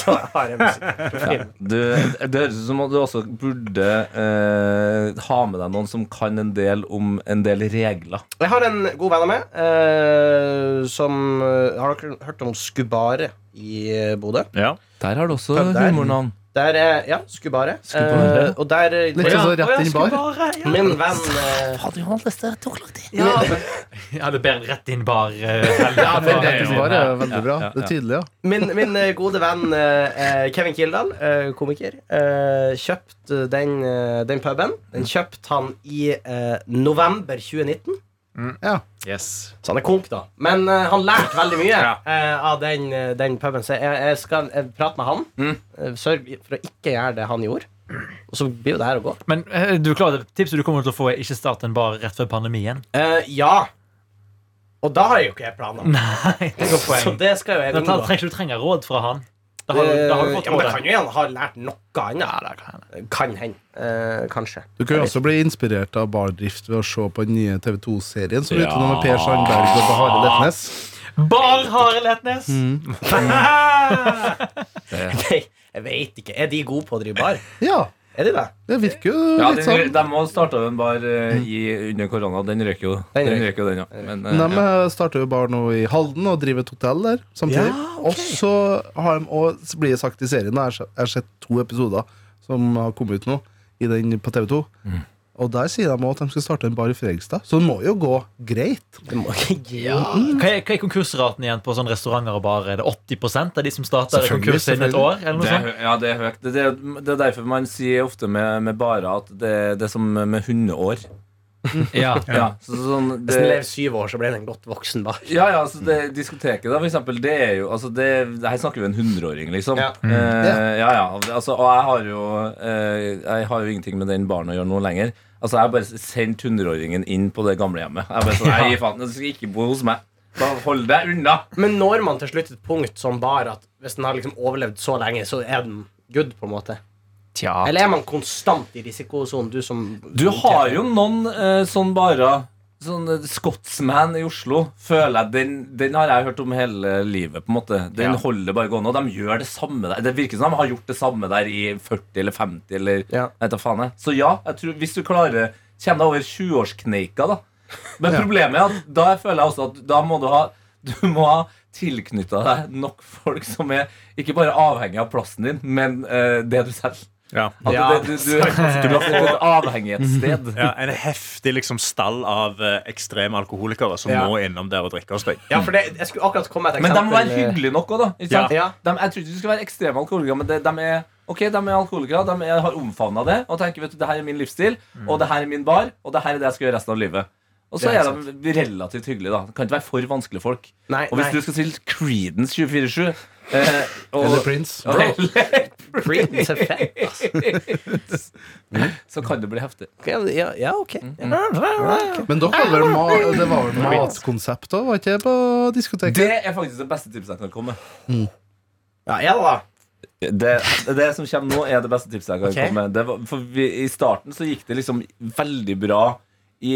Speaker 6: Så jeg har en musikkprofil.
Speaker 2: Det høres ut som at du også burde eh, ha med deg noen som kan en del om en del regler.
Speaker 6: Jeg har en god venn av meg eh, som eh, Har dere hørt om Skubare i eh, Bodø?
Speaker 4: Ja.
Speaker 2: Der har du også
Speaker 6: Ja, der.
Speaker 2: humornavn.
Speaker 6: Der er Ja, Skubare.
Speaker 2: Skubare.
Speaker 6: Eh, og der eh,
Speaker 5: Litt
Speaker 6: ja,
Speaker 5: sånn rett inn bar.
Speaker 6: Min venn eh,
Speaker 2: Hadde jo hatt lyst til å tok lagt i.
Speaker 3: Ja. Jeg hadde bedre rett inn bar. eh, Ja,
Speaker 5: Det er rett i svaret.
Speaker 3: ja.
Speaker 5: Veldig bra. Det er tydelig, ja.
Speaker 6: Min, min eh, gode venn eh, eh, Kevin Kildahl, eh, komiker, eh, kjøpte den, eh, den puben. Den kjøpte han i eh, november 2019.
Speaker 4: Yes.
Speaker 6: Så han er konk, da. Men eh, han lærte veldig mye
Speaker 4: Ja.
Speaker 6: eh, av den, eh, den puben. Så jeg, jeg skal eh, prate med han. eh, Sørg for å ikke gjøre det han gjorde. Og så blir jo det her å gå.
Speaker 3: Men eh, du er klar, over det tipset du kommer til å få, er ikke start en bar rett før pandemien.
Speaker 6: Eh, ja. Og da har jeg jo ikke jeg planer.
Speaker 3: Nei, det går
Speaker 6: Så
Speaker 3: poeng.
Speaker 6: det skal jo jeg
Speaker 3: Da
Speaker 6: unngå.
Speaker 3: trenger ikke du trenger råd fra han. Da
Speaker 6: Eh,
Speaker 3: har, du- da har du fått
Speaker 6: ja, men det kan
Speaker 3: rådet.
Speaker 6: jo gjerne ha lært noe annet. Kan hende. Eh, kanskje.
Speaker 5: Du kan jo også bli inspirert av bardrift ved å se på den nye TV2-serien som er ute nå med Per Sandberg og Bahare Letnes.
Speaker 3: Bar Harald Hetnes!
Speaker 6: Jeg vet ikke. Er de gode på å drive bar?
Speaker 5: Ja,
Speaker 6: Er de det?
Speaker 5: det virker jo
Speaker 2: Ja,
Speaker 5: litt
Speaker 2: de,
Speaker 5: sånn.
Speaker 2: de må starte en bar eh, i, under korona. Den røk jo,
Speaker 6: Den
Speaker 2: den,
Speaker 6: røk.
Speaker 2: røk jo den, ja. Men, eh,
Speaker 5: De
Speaker 2: ja.
Speaker 5: eh, starter jo bar nå i Halden og driver et hotell der samtidig.
Speaker 6: Ja, ok.
Speaker 5: Og så har de, og så blir det sagt i serien, da, jeg har sett- jeg har sett to episoder som har kommet ut nå, i den på TV 2. Og der sier de også at de skal starte en bar i Fredrikstad, så det må jo gå greit.
Speaker 6: Det må ikke
Speaker 3: Hva er, hva er konkursraten igjen på sånne restauranter og barer? Er det 80 av de som starter
Speaker 5: Selvfølgelig,
Speaker 3: konkurs innen et år? Eller noe
Speaker 2: Det er,
Speaker 3: sånt?
Speaker 2: hø- ja, det er høyt. Det, det, er- det er derfor man sier ofte med, med barer at det, det er som med hundeår.
Speaker 3: Ja.
Speaker 2: Ja, så, sånn,
Speaker 6: Hvis den
Speaker 2: det,
Speaker 6: lever syv år, så blir den en godt voksen bar.
Speaker 2: ja, ja så det, diskoteket da, for eksempel, det er jo altså det, det Her snakker vi en hundreåring, liksom.
Speaker 6: Ja.
Speaker 2: Eh, ja, ja. Altså, og jeg har, jo, eh, jeg har jo ingenting med den baren å gjøre nå lenger. Altså, Jeg har bare sendt hundreåringen inn på det gamlehjemmet. Jeg bare sånn, nei, faen, du skal ikke bo hos meg. Bare hold deg unna.
Speaker 6: Men når man til slutt et punkt som bar at hvis den har liksom overlevd så lenge, så er den good, på en måte?
Speaker 3: Tja.
Speaker 6: Eller er man konstant i risikosonen, du som
Speaker 2: Du har jo noen eh, sånn barer Sånn eh, Scotsman i Oslo Føler jeg, den, den har jeg hørt om hele livet på en måte Den holder bare gående Og de gjør det samme der Det virker som de har gjort det samme der i 40 eller 50 eller,
Speaker 6: Ja.
Speaker 2: jeg vet da faen jeg. Så ja, jeg tror, hvis du klarer Kjenner deg over 20-årskneika da Men problemet er at da føler jeg også at Da må du ha du må ha tilknyttet deg nok folk som er ikke bare avhengig av plassen din, men eh, det du selv.
Speaker 4: Ja.
Speaker 2: At
Speaker 6: Ja.
Speaker 2: det, du, du, du må få et avhengighetssted.
Speaker 4: Ja, en heftig liksom, stall av eh, ekstreme alkoholikere som
Speaker 6: Ja.
Speaker 4: må innom der og drikke hos deg.
Speaker 6: Ja, for det, jeg skulle akkurat komme med et
Speaker 2: Men de
Speaker 6: eksempel. eh,
Speaker 2: må være hyggelige nok òg, da. Ikke sant?
Speaker 6: Ja.
Speaker 2: De, jeg tror ikke du skal være ekstreme alkoholikere, men de, de er Ok, de er alkoholikere, de er, har omfavna det og tenker vet du, det her er min livsstil, og det her er min bar, og det her er det jeg skal gjøre resten av livet. Og så
Speaker 6: Det er
Speaker 2: er, de relativt hyggelige, da. Det kan ikke være for vanskelige folk.
Speaker 6: Nei,
Speaker 2: Og hvis
Speaker 6: nei.
Speaker 2: du skal til Creedence 24-7 eh, og-
Speaker 5: Eller Prince.
Speaker 2: Ja, eller-
Speaker 6: Prince er fett, ass.
Speaker 2: så kan det bli heftig.
Speaker 6: Ok, Ja, ja, ok.
Speaker 2: Mm-hmm.
Speaker 5: Men dere hadde vel ma det var vel matkonsept òg, var ikke det på diskoteket?
Speaker 2: Det er faktisk det beste tipset jeg kan komme med.
Speaker 6: Ja, ja da.
Speaker 2: Det, det som kommer nå, er det beste tipset jeg kan
Speaker 6: Ok.
Speaker 2: komme med. Det var, for vi, I starten så gikk det liksom veldig bra i,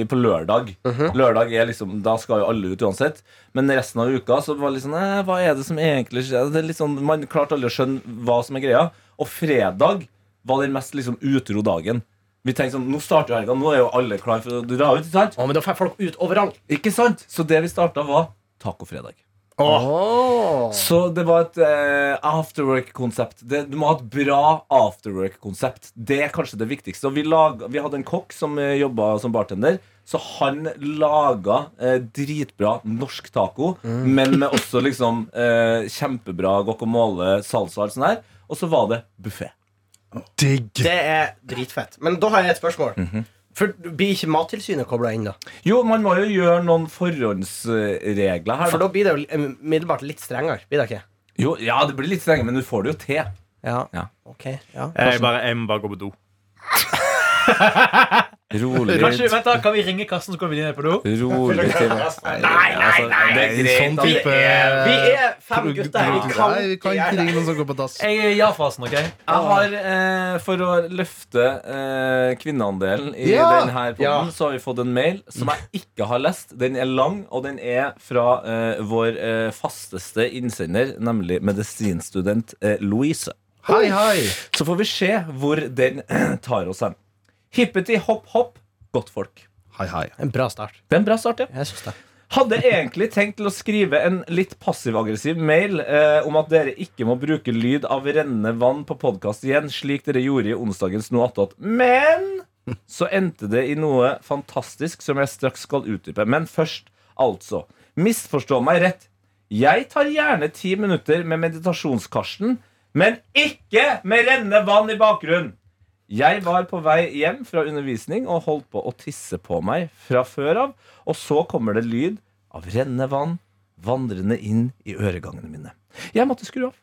Speaker 2: i, på lørdag. Lørdag er liksom Da skal jo alle ut uansett. Men resten av uka så var det liksom eh, Hva er det som egentlig skjer? Det er liksom, man klarte aldri å skjønne hva som er greia. Og fredag var den mest liksom utro dagen. Vi tenkte sånn, Nå starter jo helga, nå er jo alle klare for å dra ut. Ikke sant?
Speaker 6: Å, men da får folk ut overalt.
Speaker 2: Ikke sant? Så det vi starta, var tacofredag.
Speaker 6: Åh.
Speaker 2: Så det var et eh, afterwork-konsept. Det- Du må ha et bra afterwork-konsept. Det er kanskje det viktigste. Og vi, lag, vi hadde en kokk som uh, jobba som bartender. Så han laga eh, dritbra norsk taco,
Speaker 5: Mm.
Speaker 2: men med også liksom eh, kjempebra guacamole, salsa og alt sånt der. Og så var det buffé.
Speaker 5: Digg!
Speaker 6: Det er dritfett. Men da har jeg et spørsmål.
Speaker 2: Mm-hmm.
Speaker 6: For Blir ikke Mattilsynet kobla inn, da?
Speaker 2: Jo, man må jo gjøre noen forhåndsregler her.
Speaker 6: For
Speaker 2: Da.
Speaker 6: da blir det jo eh, umiddelbart litt strengere. Blir det ikke?
Speaker 2: Jo, ja, det blir litt strenge, men du får det jo til.
Speaker 6: Ja.
Speaker 2: Ja.
Speaker 6: Ok. Ja.
Speaker 5: Eh,
Speaker 4: Jeg, bare, jeg må bare gå på do.
Speaker 2: Rolig.
Speaker 3: Kanskje, vent da, Kan vi ringe Karsten, så går vi ned på do?
Speaker 2: Rolig til Nei, nei, nei! Det er greit. altså.
Speaker 5: Sånn type
Speaker 6: Vi er fem gutter. Vi kan,
Speaker 5: Nei, vi kan ikke ringe noen som går på dass.
Speaker 3: Jeg er ja-fasen, OK?
Speaker 2: Jeg har, eh, For å løfte eh, kvinneandelen i
Speaker 5: Ja!
Speaker 2: denne podden,
Speaker 6: Ja.
Speaker 2: så har vi fått en mail som jeg ikke har lest. Den er lang, og den er fra eh, vår eh, fasteste innsender, nemlig medisinstudent eh, Louise.
Speaker 5: Hei, hei!
Speaker 2: Så får vi se hvor den eh, tar oss hen. Hippeti hopp hopp, godt folk.
Speaker 5: Hei, hei.
Speaker 6: En bra start.
Speaker 2: Det er en bra start, ja.
Speaker 6: Jeg syns det.
Speaker 2: Hadde egentlig tenkt til å skrive en litt passiv-aggressiv mail eh, om at dere ikke må bruke lyd av rennende vann på podkast igjen, slik dere gjorde i onsdagens Noe attåt. Men så endte det i noe fantastisk som jeg straks skal utdype. Men først, altså. Misforstå meg rett. Jeg tar gjerne ti minutter med meditasjonskarsten, men ikke med rennende vann i bakgrunnen. Jeg var på vei hjem fra undervisning og holdt på å tisse på meg fra før av, og så kommer det lyd av rennende vann vandrende inn i øregangene mine. Jeg måtte skru av.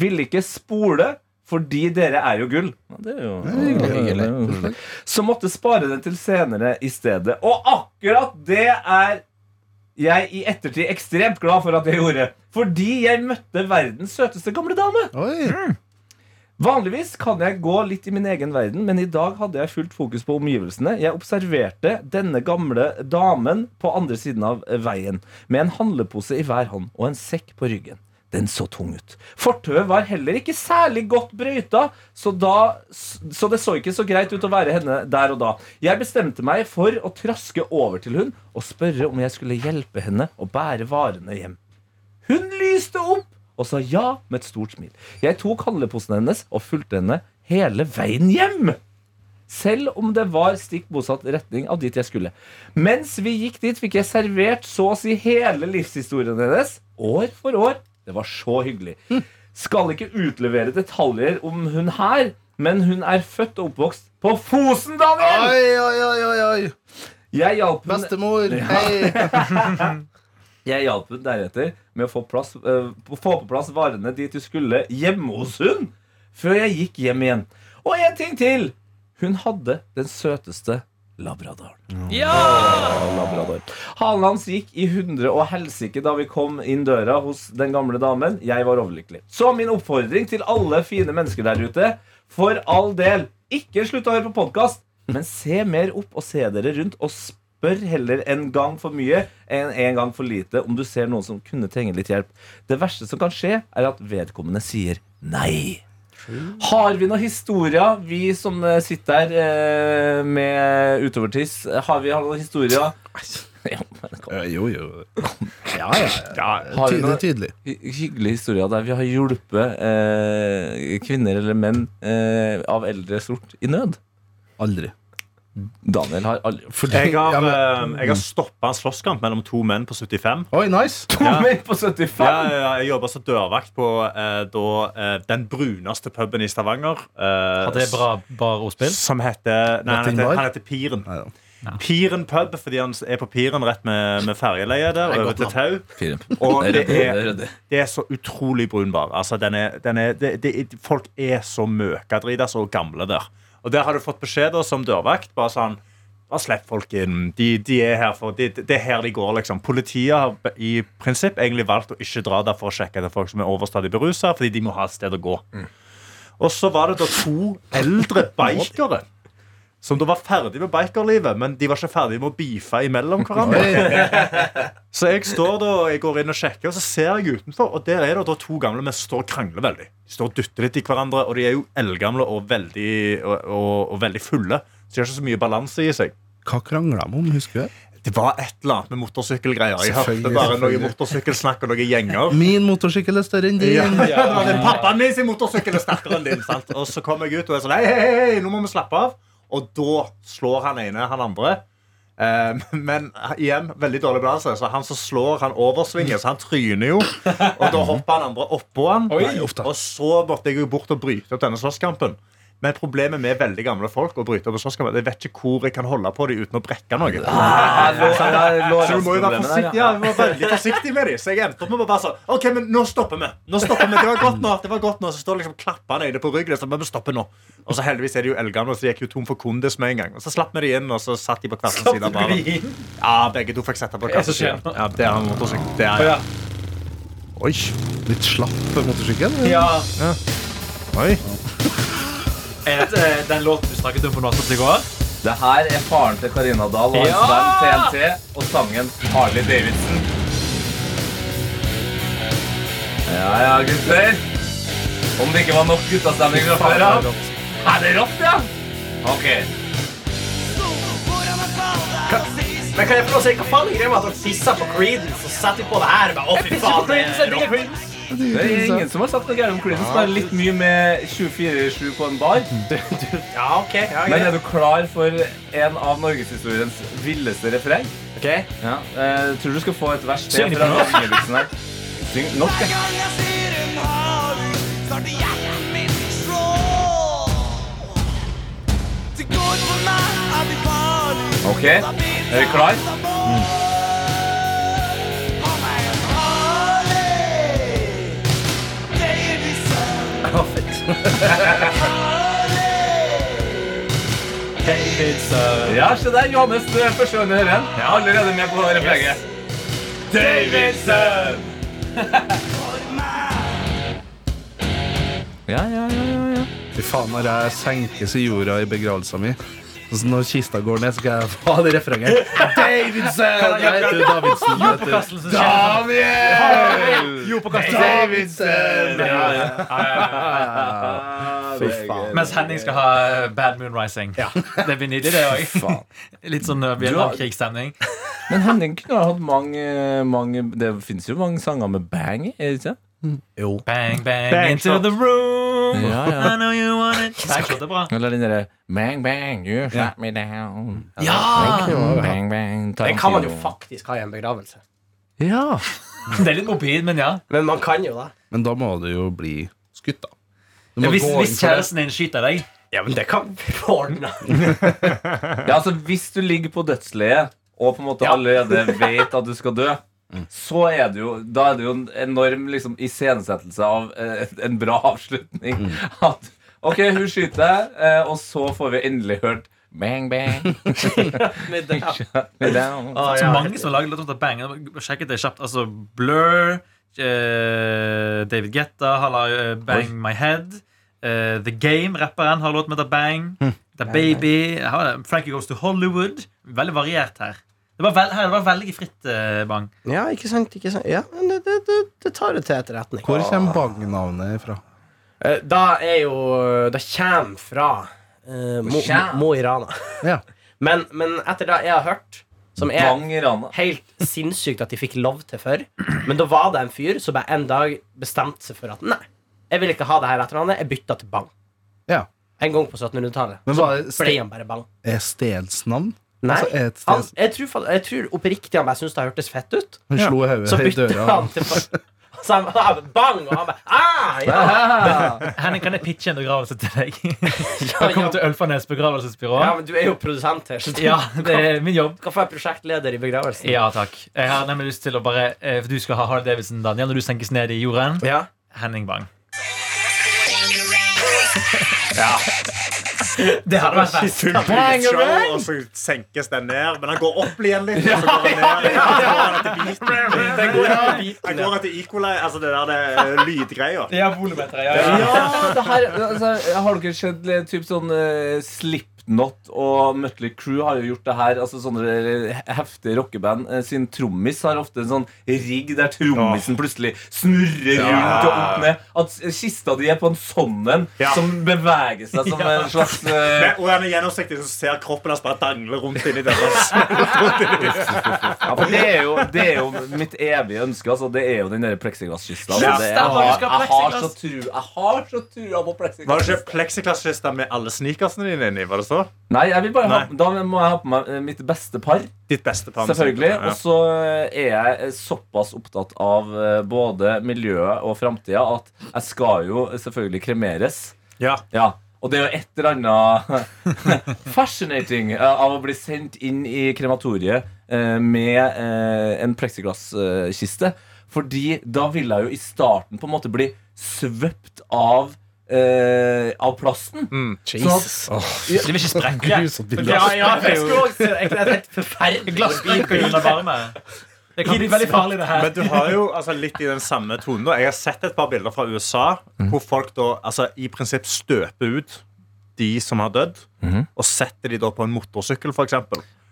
Speaker 2: Ville ikke spole, fordi dere er jo gull. Ja, det er jo, det er jo hyggelig. Så måtte spare det til senere i stedet. Og akkurat det er jeg i ettertid ekstremt glad for at jeg gjorde. Fordi jeg møtte verdens søteste gamle dame.
Speaker 5: Oi.
Speaker 2: Vanligvis kan jeg gå litt i min egen verden, men i dag hadde jeg fullt fokus på omgivelsene. Jeg observerte denne gamle damen på andre siden av eh, veien, med en handlepose i hver hånd og en sekk på ryggen. Den så tung ut. Fortauet var heller ikke særlig godt brøyta, så, da, så det så ikke så greit ut å være henne der og da. Jeg bestemte meg for å traske over til hun og spørre om jeg skulle hjelpe henne å bære varene hjem. Hun lyste opp og sa ja med et stort smil. Jeg tok handleposen hennes og fulgte henne hele veien hjem. Selv om det var stikk motsatt retning av dit jeg skulle. Mens vi gikk dit, fikk jeg servert så å si hele livshistorien hennes. År for år. Det var så hyggelig. Skal ikke utlevere detaljer om hun her, men hun er født og oppvokst på Fosen, Daniel!
Speaker 5: Oi, oi, oi, oi, oi.
Speaker 2: Jeg hjalp henne
Speaker 5: Bestemor. Hei.
Speaker 2: Jeg hjalp hun deretter med å få, plass, eh, få på plass varene dit du skulle hjemme hos hun Før jeg gikk hjem igjen Og en ting til Hun hadde den søteste labradoren Åh, labrador. Halen hans gikk i hundre og helsike da vi kom inn døra hos den gamle damen Jeg var overlykkelig Så min oppfordring til alle fine mennesker der ute For all del, ikke slutt å høre på podcast Men se mer opp og se dere rundt Og spør heller en gang for mye enn en gang for lite om du ser noen som kunne trenge litt hjelp. Det verste som kan skje, er at vedkommende sier nei. Har vi noen historier, vi som eh, sitter her eh, med utovertiss? Har vi har noen historier? Ja, men kom.
Speaker 5: Jo, jo.
Speaker 2: Ja, ja, Har vi
Speaker 5: Tydelig,
Speaker 2: noen
Speaker 5: tydelig.
Speaker 2: hy- hyggelige historier der vi har hjulpet eh, kvinner eller menn eh, av eldre sort i nød?
Speaker 5: Aldri.
Speaker 2: Daniel har aldri
Speaker 4: Jeg har,
Speaker 5: Ja, men-
Speaker 4: eh, jeg har stoppa en slåsskamp mellom to menn på 75.
Speaker 5: Oi, nice.
Speaker 2: To menn på 75!
Speaker 4: Ja, ja, ja, jeg jobba som dørvakt på eh, da, eh, den bruneste puben i Stavanger. eh,
Speaker 3: At det er bra barordspill?
Speaker 4: Som heter Nei, han
Speaker 5: Latin
Speaker 4: heter,
Speaker 5: Bar?
Speaker 4: han heter Piren.
Speaker 5: Nei, ja.
Speaker 4: Piren pub, fordi han er på Piren rett med, med fergeleiet der, over til Tau.
Speaker 2: Fire.
Speaker 4: Og
Speaker 2: Det er ryddig,
Speaker 4: det
Speaker 2: det er
Speaker 4: er,
Speaker 2: ryddig.
Speaker 4: det er så utrolig brunbar. Altså, den er, den er, det, det, folk er så møkadritas og gamle der. Og der har du fått beskjed da, som dørvakt. Bare sånn bare slipp folk inn. De, de er her for, de, det er her de går, liksom. Politiet har be- i prinsipp egentlig valgt å ikke dra der for å sjekke etter folk som er overstadig berusa, fordi de må ha et sted å gå.
Speaker 2: Mm.
Speaker 4: Og så var det da to eldre bikere som da var ferdig med bikerlivet, men de var ikke ferdig med å beefe imellom hverandre. Så jeg står da, jeg går inn og sjekker, og så ser jeg utenfor, og der er det da to gamle menn som står og krangler veldig. De står og dytter litt i hverandre, og de er jo eldgamle og veldig, og, og, og veldig fulle. Så de har ikke så mye balanse i seg.
Speaker 5: Hva krangla de om, husker du?
Speaker 4: Det var et eller annet med motorsykkelgreier. Jeg hørte
Speaker 5: Selvfølgelig,
Speaker 4: bare noe
Speaker 5: selvfølgelig.
Speaker 4: motorsykelsnakk og noen gjenger.
Speaker 5: Min motorsykkel er større enn
Speaker 4: Ja,
Speaker 5: din.
Speaker 4: ja, det er Pappaen min sin motorsykkel er sterkere enn din. Sant? Og så kommer jeg ut og er sånn Hei, hei, hei, nå må vi slappe av. Og da slår han ene han andre. Eh, men igjen, veldig dårlig balanse. Så han som slår, han oversvinger, så han tryner jo. Og da hopper han andre oppå han.
Speaker 5: Nei, uff da.
Speaker 4: og så måtte jeg jo bort og bryte opp denne slåsskampen. Men problemet med veldig gamle folk å bryte opp en slåsskamp er at jeg vet ikke hvor jeg kan holde på dem uten å brekke noe.
Speaker 2: Ah, lå- ja, lå-
Speaker 4: Så du må jo være
Speaker 2: problemet der, ja.
Speaker 4: forsiktig, ja, vi må være veldig forsiktig med dem. Så jeg endte opp med å bare sånn OK, men nå stopper vi. Nå stopper vi, Det var godt nå. det var godt nå Så står liksom klappene inne på ryggen. Så vi stopper nå. Og så heldigvis er de jo eldgamle, så de gikk jo tom for kondis med en gang. Og så slapp vi de inn, og så satt de på hver sin side av baren. Ja, begge to fikk sette på
Speaker 3: er
Speaker 4: hver
Speaker 3: det
Speaker 4: sin
Speaker 3: som skjer
Speaker 4: side. Ja, det er han motorsykkel. Det er
Speaker 3: Ja.
Speaker 5: Oi, litt slapp motorsykkel?
Speaker 3: Ja.
Speaker 4: Oi.
Speaker 3: Er dette, eh, den låten du snakket om på Nattnatt i går?
Speaker 2: Det her er faren til Karina Dahl og hans
Speaker 3: Ja!
Speaker 2: band TNT og sangen Harley Davidson. Ja ja, gutter. Om det ikke var nok guttastemning fra før av. Er det rått, ja? Ok.
Speaker 6: Men kan jeg få lov å si hva faen er greia med at han tissa på Creedence, og setter de på det her? og Bare, å, fy faen, det er rått.
Speaker 2: Det er ingen som har sagt noe gærent om Creedence. Bare litt mye med 24-7 på en bar.
Speaker 6: Ja, ok. Ja,
Speaker 2: Men
Speaker 6: greit.
Speaker 2: er du klar for en av norgeshistoriens villeste refreng?
Speaker 6: Ok.
Speaker 2: Ja. eh, tror du skal få et vers til
Speaker 3: Syng det
Speaker 2: fra
Speaker 3: på norsk.
Speaker 2: Ingebrigtsen her. Syng norsk, ja. Ok. Er du klar? Ja, se der. Johannes, du er første gang du hører den. Allerede med på refrenget. Davidson! Ja, ja, ja, ja, ja.
Speaker 5: Fy faen, når jeg senkes i jorda i begravelsen min og så når kista går ned, så skal jeg ha det refrenget. Davidsen! Jeg heter jo Davidsen. vet du.
Speaker 3: Jordpåkastelsen skjer. Jordpåkastelsen.
Speaker 5: Davidsen!
Speaker 3: Ja, ja,
Speaker 5: Ah,
Speaker 2: Fy faen.
Speaker 3: Mens Henning skal ha eh, Bad Moon Rising. Det blir nydelig, det òg. Litt sånn eh, Vietnamkrigsstemning.
Speaker 2: Men Henning kunne ha hatt mange, mange Det fins jo mange sanger med bang i, er det ikke?
Speaker 3: Bang, bang,
Speaker 4: Bang
Speaker 3: into
Speaker 4: shot.
Speaker 3: the room.
Speaker 2: Ja, ja.
Speaker 3: I know you want it. Bang shot er bra.
Speaker 2: Eller den derre Bang, bang, you shut me down.
Speaker 3: Ja!
Speaker 2: Bang, bang,
Speaker 6: Den kan man jo faktisk ha i en begravelse.
Speaker 2: Ja.
Speaker 3: Det er litt mobil, men ja.
Speaker 6: Men man kan jo det.
Speaker 5: Men da må du jo bli skutt, da. Du må
Speaker 3: Hvis,
Speaker 5: gå inn
Speaker 3: hvis
Speaker 5: for det.
Speaker 3: kjæresten din skyter deg
Speaker 6: Ja, men det kan vi få ordna.
Speaker 2: Ja, altså Hvis du ligger på dødsleiet og på en måte allerede vet at du skal dø, så er det jo Da er det jo en enorm liksom, iscenesettelse av eh, en bra avslutning. At OK, hun skyter deg, eh, og så får vi endelig hørt Bang, bang,
Speaker 6: Med det.
Speaker 2: shut me down.
Speaker 6: Ah,
Speaker 3: Så
Speaker 6: ja.
Speaker 3: mange som har laget låter til Bang. Jeg Sjekket det kjapt. Altså Blur, eh, David Guetta, har la- eh, Bang My Head. eh, The Game, rapperen, har låt med The Hm. Bang. The Baby. Her var det Frankie Goes to Hollywood. Veldig variert her. Det var, vel, her, det var veldig fritt, eh, Bang.
Speaker 6: Ja, ikke sant. Ikke sant. Ja, men det, det, det, det tar det til etterretning.
Speaker 5: Hvor kommer Bang-navnet fra?
Speaker 6: Eh, Da er jo Det kommer fra eh, Mo,
Speaker 2: Kjem.
Speaker 6: Mo i Rana.
Speaker 5: Ja.
Speaker 6: Men, men etter det jeg har hørt, som er
Speaker 2: Bang i rana.
Speaker 6: helt sinnssykt at de fikk lov til før, men da var det en fyr som bare en dag bestemte seg for at nei, jeg vil ikke ha det her etternavnet, jeg bytta til Bang.
Speaker 5: ja.
Speaker 6: En gang på 1700-tallet.
Speaker 5: Men
Speaker 6: Så
Speaker 5: var det
Speaker 6: ble
Speaker 5: ste-
Speaker 6: han bare Bang.
Speaker 5: er stedsnavn?
Speaker 6: Nei.
Speaker 5: Altså, er et
Speaker 6: Han,
Speaker 5: steds...
Speaker 6: jeg, tror, fa- jeg tror oppriktig han bare syntes det hørtes fett ut.
Speaker 5: Hun slo
Speaker 6: Så
Speaker 5: hodet i
Speaker 6: bytter
Speaker 5: døra.
Speaker 6: han til Så han bare bang, og han bare ah, ja.
Speaker 3: Henning, kan jeg pitche en begravelse til deg?
Speaker 6: Ja,
Speaker 3: Velkommen til
Speaker 6: ja.
Speaker 3: Ølfarnes begravelsesbyrå.
Speaker 6: ja, men du er jo produsent her, så du
Speaker 3: Ja, det er min jobb.
Speaker 6: skal få være prosjektleder i begravelsen.
Speaker 3: Ja, takk. Jeg har nemlig lyst til å bare eh, For du skal ha Harley Davidson, Daniel, når du senkes ned i jorden.
Speaker 6: Ja.
Speaker 3: Henning Bang. Ja. Det hadde vært best.
Speaker 4: Troll, og så senkes den ned, men han går opp igjen litt. Og så går han ned igjen, og så går han etter beaten. Den går etter beaten. Han går etter equalize, altså det der det er lydgreia.
Speaker 3: Ja, volumeter, ja, ja.
Speaker 2: Ja, det her, altså, har dere sett eh, typ sånn eh, Slipknot og Mutley Crew har jo gjort det her. Altså Sånne eh, heftige rockeband eh, sin trommis har ofte en sånn rigg der trommisen plutselig snurrer rundt og opp ned. At s- kista di er på en sånn en
Speaker 4: Ja.
Speaker 2: som beveger seg som en slags eh,
Speaker 4: Men- Og han er gjennomsiktig, så ser kroppen hans bare dangle rundt inni der. altså.
Speaker 2: ja, for det, er jo, det er jo mitt evige ønske. Altså, det er jo den der pleksiglasskista. Altså,
Speaker 4: Ja,
Speaker 2: det- jeg,
Speaker 3: stemmer, vi
Speaker 2: har-
Speaker 3: skal ha
Speaker 2: jeg har så
Speaker 3: plexiglass.
Speaker 2: tru- jeg har så trua på
Speaker 4: Var det
Speaker 2: pleksiglass.
Speaker 4: ikke pleksiglasskiste med alle sneakersene dine inni? var det så?
Speaker 2: Nei, jeg vil bare ha,
Speaker 4: Nei.
Speaker 2: da må jeg ha på meg eh, mitt beste par.
Speaker 4: Ditt beste par. med
Speaker 2: Selvfølgelig.
Speaker 4: sneakers, ja.
Speaker 2: Og så eh, er jeg såpass opptatt av eh, både miljøet og framtida at jeg skal jo selvfølgelig kremeres.
Speaker 4: Ja.
Speaker 2: Ja. Og det er jo et eller annet fascinating eh, av å bli sendt inn i krematoriet eh, med eh, en pleksiglasskiste. Fordi da vil jeg jo i starten på en måte bli svøpt av, eh, av plasten.
Speaker 4: Mm.
Speaker 2: Sånn Jesus.
Speaker 3: Det vil ikke sprekke.
Speaker 5: Grusomt bilde.
Speaker 3: Ja, ja, det er
Speaker 6: jeg
Speaker 3: jo
Speaker 6: skulle også si det. Det er helt forferdelig.
Speaker 3: Glass sprekker jo under varme. Det kan bli veldig farlig, det her.
Speaker 4: Men du har jo altså, litt i den samme tonen. da. Jeg har sett et par bilder fra USA hvor folk da altså, i prinsipp støper ut de som har dødd, og setter de da på en motorsykkel, f.eks.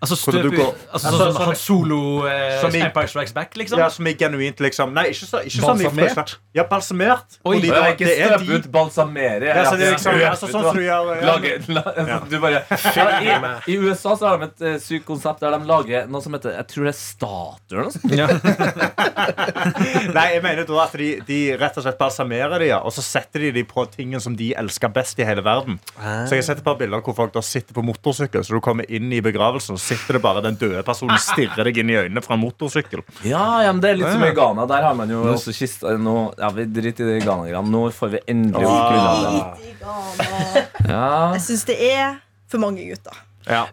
Speaker 3: Altså,
Speaker 4: Hvordan
Speaker 3: støp
Speaker 4: du
Speaker 3: ut
Speaker 4: går-
Speaker 3: altså, sånn som Han Solo eh,
Speaker 4: Som i-
Speaker 3: Empire Strikes Back, liksom.
Speaker 4: Ja, som er genuint, liksom. Nei, ikke, så, ikke sånn i-
Speaker 5: Balsamert?
Speaker 4: Ja, balsamert.
Speaker 3: Oi.
Speaker 4: Fordi
Speaker 2: Og
Speaker 4: da-
Speaker 2: jeg ikke
Speaker 4: det er de-
Speaker 2: støpe ut, balsamere.
Speaker 4: Ja, så det
Speaker 2: Ja.
Speaker 4: er liksom, altså, sånn som du gjør ja.
Speaker 2: Lage, la, altså, du bare, ja, i, I USA så har de et eh, sykt konsept der de lager noe som heter Jeg tror det er statuer eller noe sånt.
Speaker 4: Nei, jeg mener da at de, de rett og slett balsamerer de, ja, og så setter de de på tingen som de elsker best i hele verden. Så jeg har sett et par bilder hvor folk da sitter på motorsykkel, så du kommer inn i begravelsen, og sitter det bare den døde personen stirrer deg inn i øynene fra en motorsykkel.
Speaker 2: Ja, ja, men det er litt som i
Speaker 4: Ja.
Speaker 2: Ghana. Der har man jo også kista nå, Ja, vi driter i det Ghana-greiene. Nå får vi endelig
Speaker 4: Ah.
Speaker 2: opp
Speaker 7: Drit i Ghana.
Speaker 2: Ja.
Speaker 7: Jeg syns det er for mange gutter.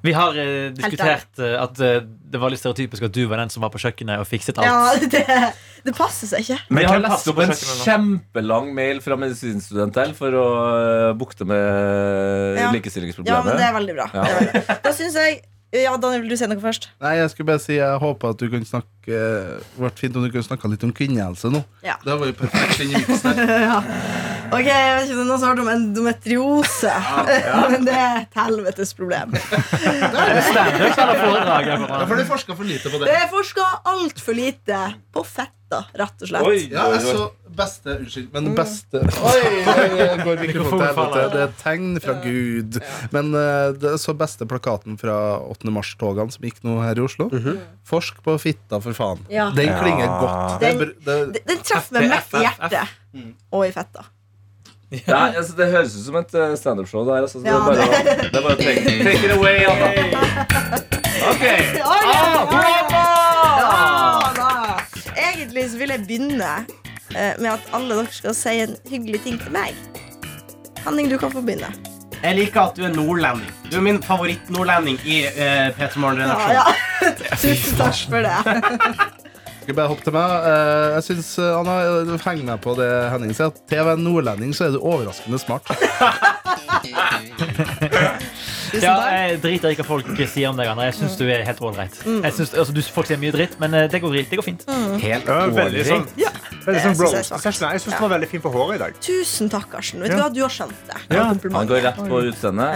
Speaker 3: Vi har eh, diskutert eh, at eh, det var litt stereotypisk at du var den som var på kjøkkenet og fikset alt.
Speaker 7: Ja, det, det passer seg ikke.
Speaker 2: Vi
Speaker 4: Men
Speaker 2: har
Speaker 4: hvem
Speaker 2: lest
Speaker 4: passer
Speaker 2: opp
Speaker 4: på
Speaker 2: en
Speaker 4: kjøkkenet nå?
Speaker 2: kjempelang mail fra medisinstudent her for å eh, bukte eh, med
Speaker 7: Ja. Ja, men
Speaker 2: likestillingsproblemet.
Speaker 7: det er veldig bra. Det er veldig bra. Da syns jeg Ja, Daniel, vil du si noe først?
Speaker 5: Nei, jeg skulle bare si jeg håper at du kan snakke eh, Det hadde vært fint om du kunne snakke litt om kvinnehelse nå.
Speaker 7: Ja.
Speaker 5: Det var jo perfekt inn i miksen her.
Speaker 7: Ok, jeg vet ikke om noen som har hørt om endometriose, men det er et helvetes problem.
Speaker 3: Standup eller foredrag? jeg
Speaker 5: Ja,
Speaker 3: bare-
Speaker 5: for det forska for lite på
Speaker 7: Det
Speaker 5: det.
Speaker 7: er forska altfor lite på fetta, rett og slett.
Speaker 2: Oi,
Speaker 5: Ja,
Speaker 2: oi,
Speaker 5: jeg
Speaker 2: oi.
Speaker 5: så beste Unnskyld, men beste Oi, det går mikrofonen til helvete. Det er et tegn fra Gud. Men eh, det er så beste plakaten fra 8. mars-togene som gikk nå her i Oslo.
Speaker 2: Mhm.
Speaker 5: Forsk på fitta, for faen.
Speaker 7: Ja.
Speaker 5: Den klinger godt. Det, er br- det,
Speaker 7: Den, den treffer meg midt i
Speaker 3: FFF.
Speaker 7: hjertet
Speaker 2: Mm.
Speaker 7: og i fetta.
Speaker 2: Nei, altså, det høres ut som et eh, standup-show. Det, her, altså, så det
Speaker 7: Ja,
Speaker 2: er bare å, det er bare å take, take it away. Anna. Ok.
Speaker 7: Oi,
Speaker 2: Bravo!
Speaker 7: ja, da. Egentlig så vil jeg begynne eh, med at alle dere skal si en hyggelig ting til meg. Henning, du kan få begynne.
Speaker 6: Jeg liker at du er nordlending. Du er min favoritt-nordlending i uh, P3 Morgen-redaksjonen.
Speaker 7: Ja, ja. Tusen takk for det.
Speaker 5: skal jeg bare hoppe til meg. Eh, Jeg synes, eh, Anna, Heng meg på det Henning sier. at Til å være nordlending så er du overraskende smart.
Speaker 3: Ja, jeg driter i hva folk sier om deg, André. Jeg syns du er helt ålreit. Jeg synes- Altså, du- folk sier mye dritt, men eh, det går, det går fint.
Speaker 2: Helt
Speaker 4: Ja, veldig sånn,
Speaker 2: ålreit.
Speaker 7: Ja,
Speaker 4: veldig sånn
Speaker 7: det synes
Speaker 4: bro
Speaker 7: jeg er svakt.
Speaker 4: session. Jeg syns den var veldig fin for håret i dag.
Speaker 7: Tusen takk, Karsten. Vet du hva, du har skjønt det.
Speaker 2: Han går rett på utseendet.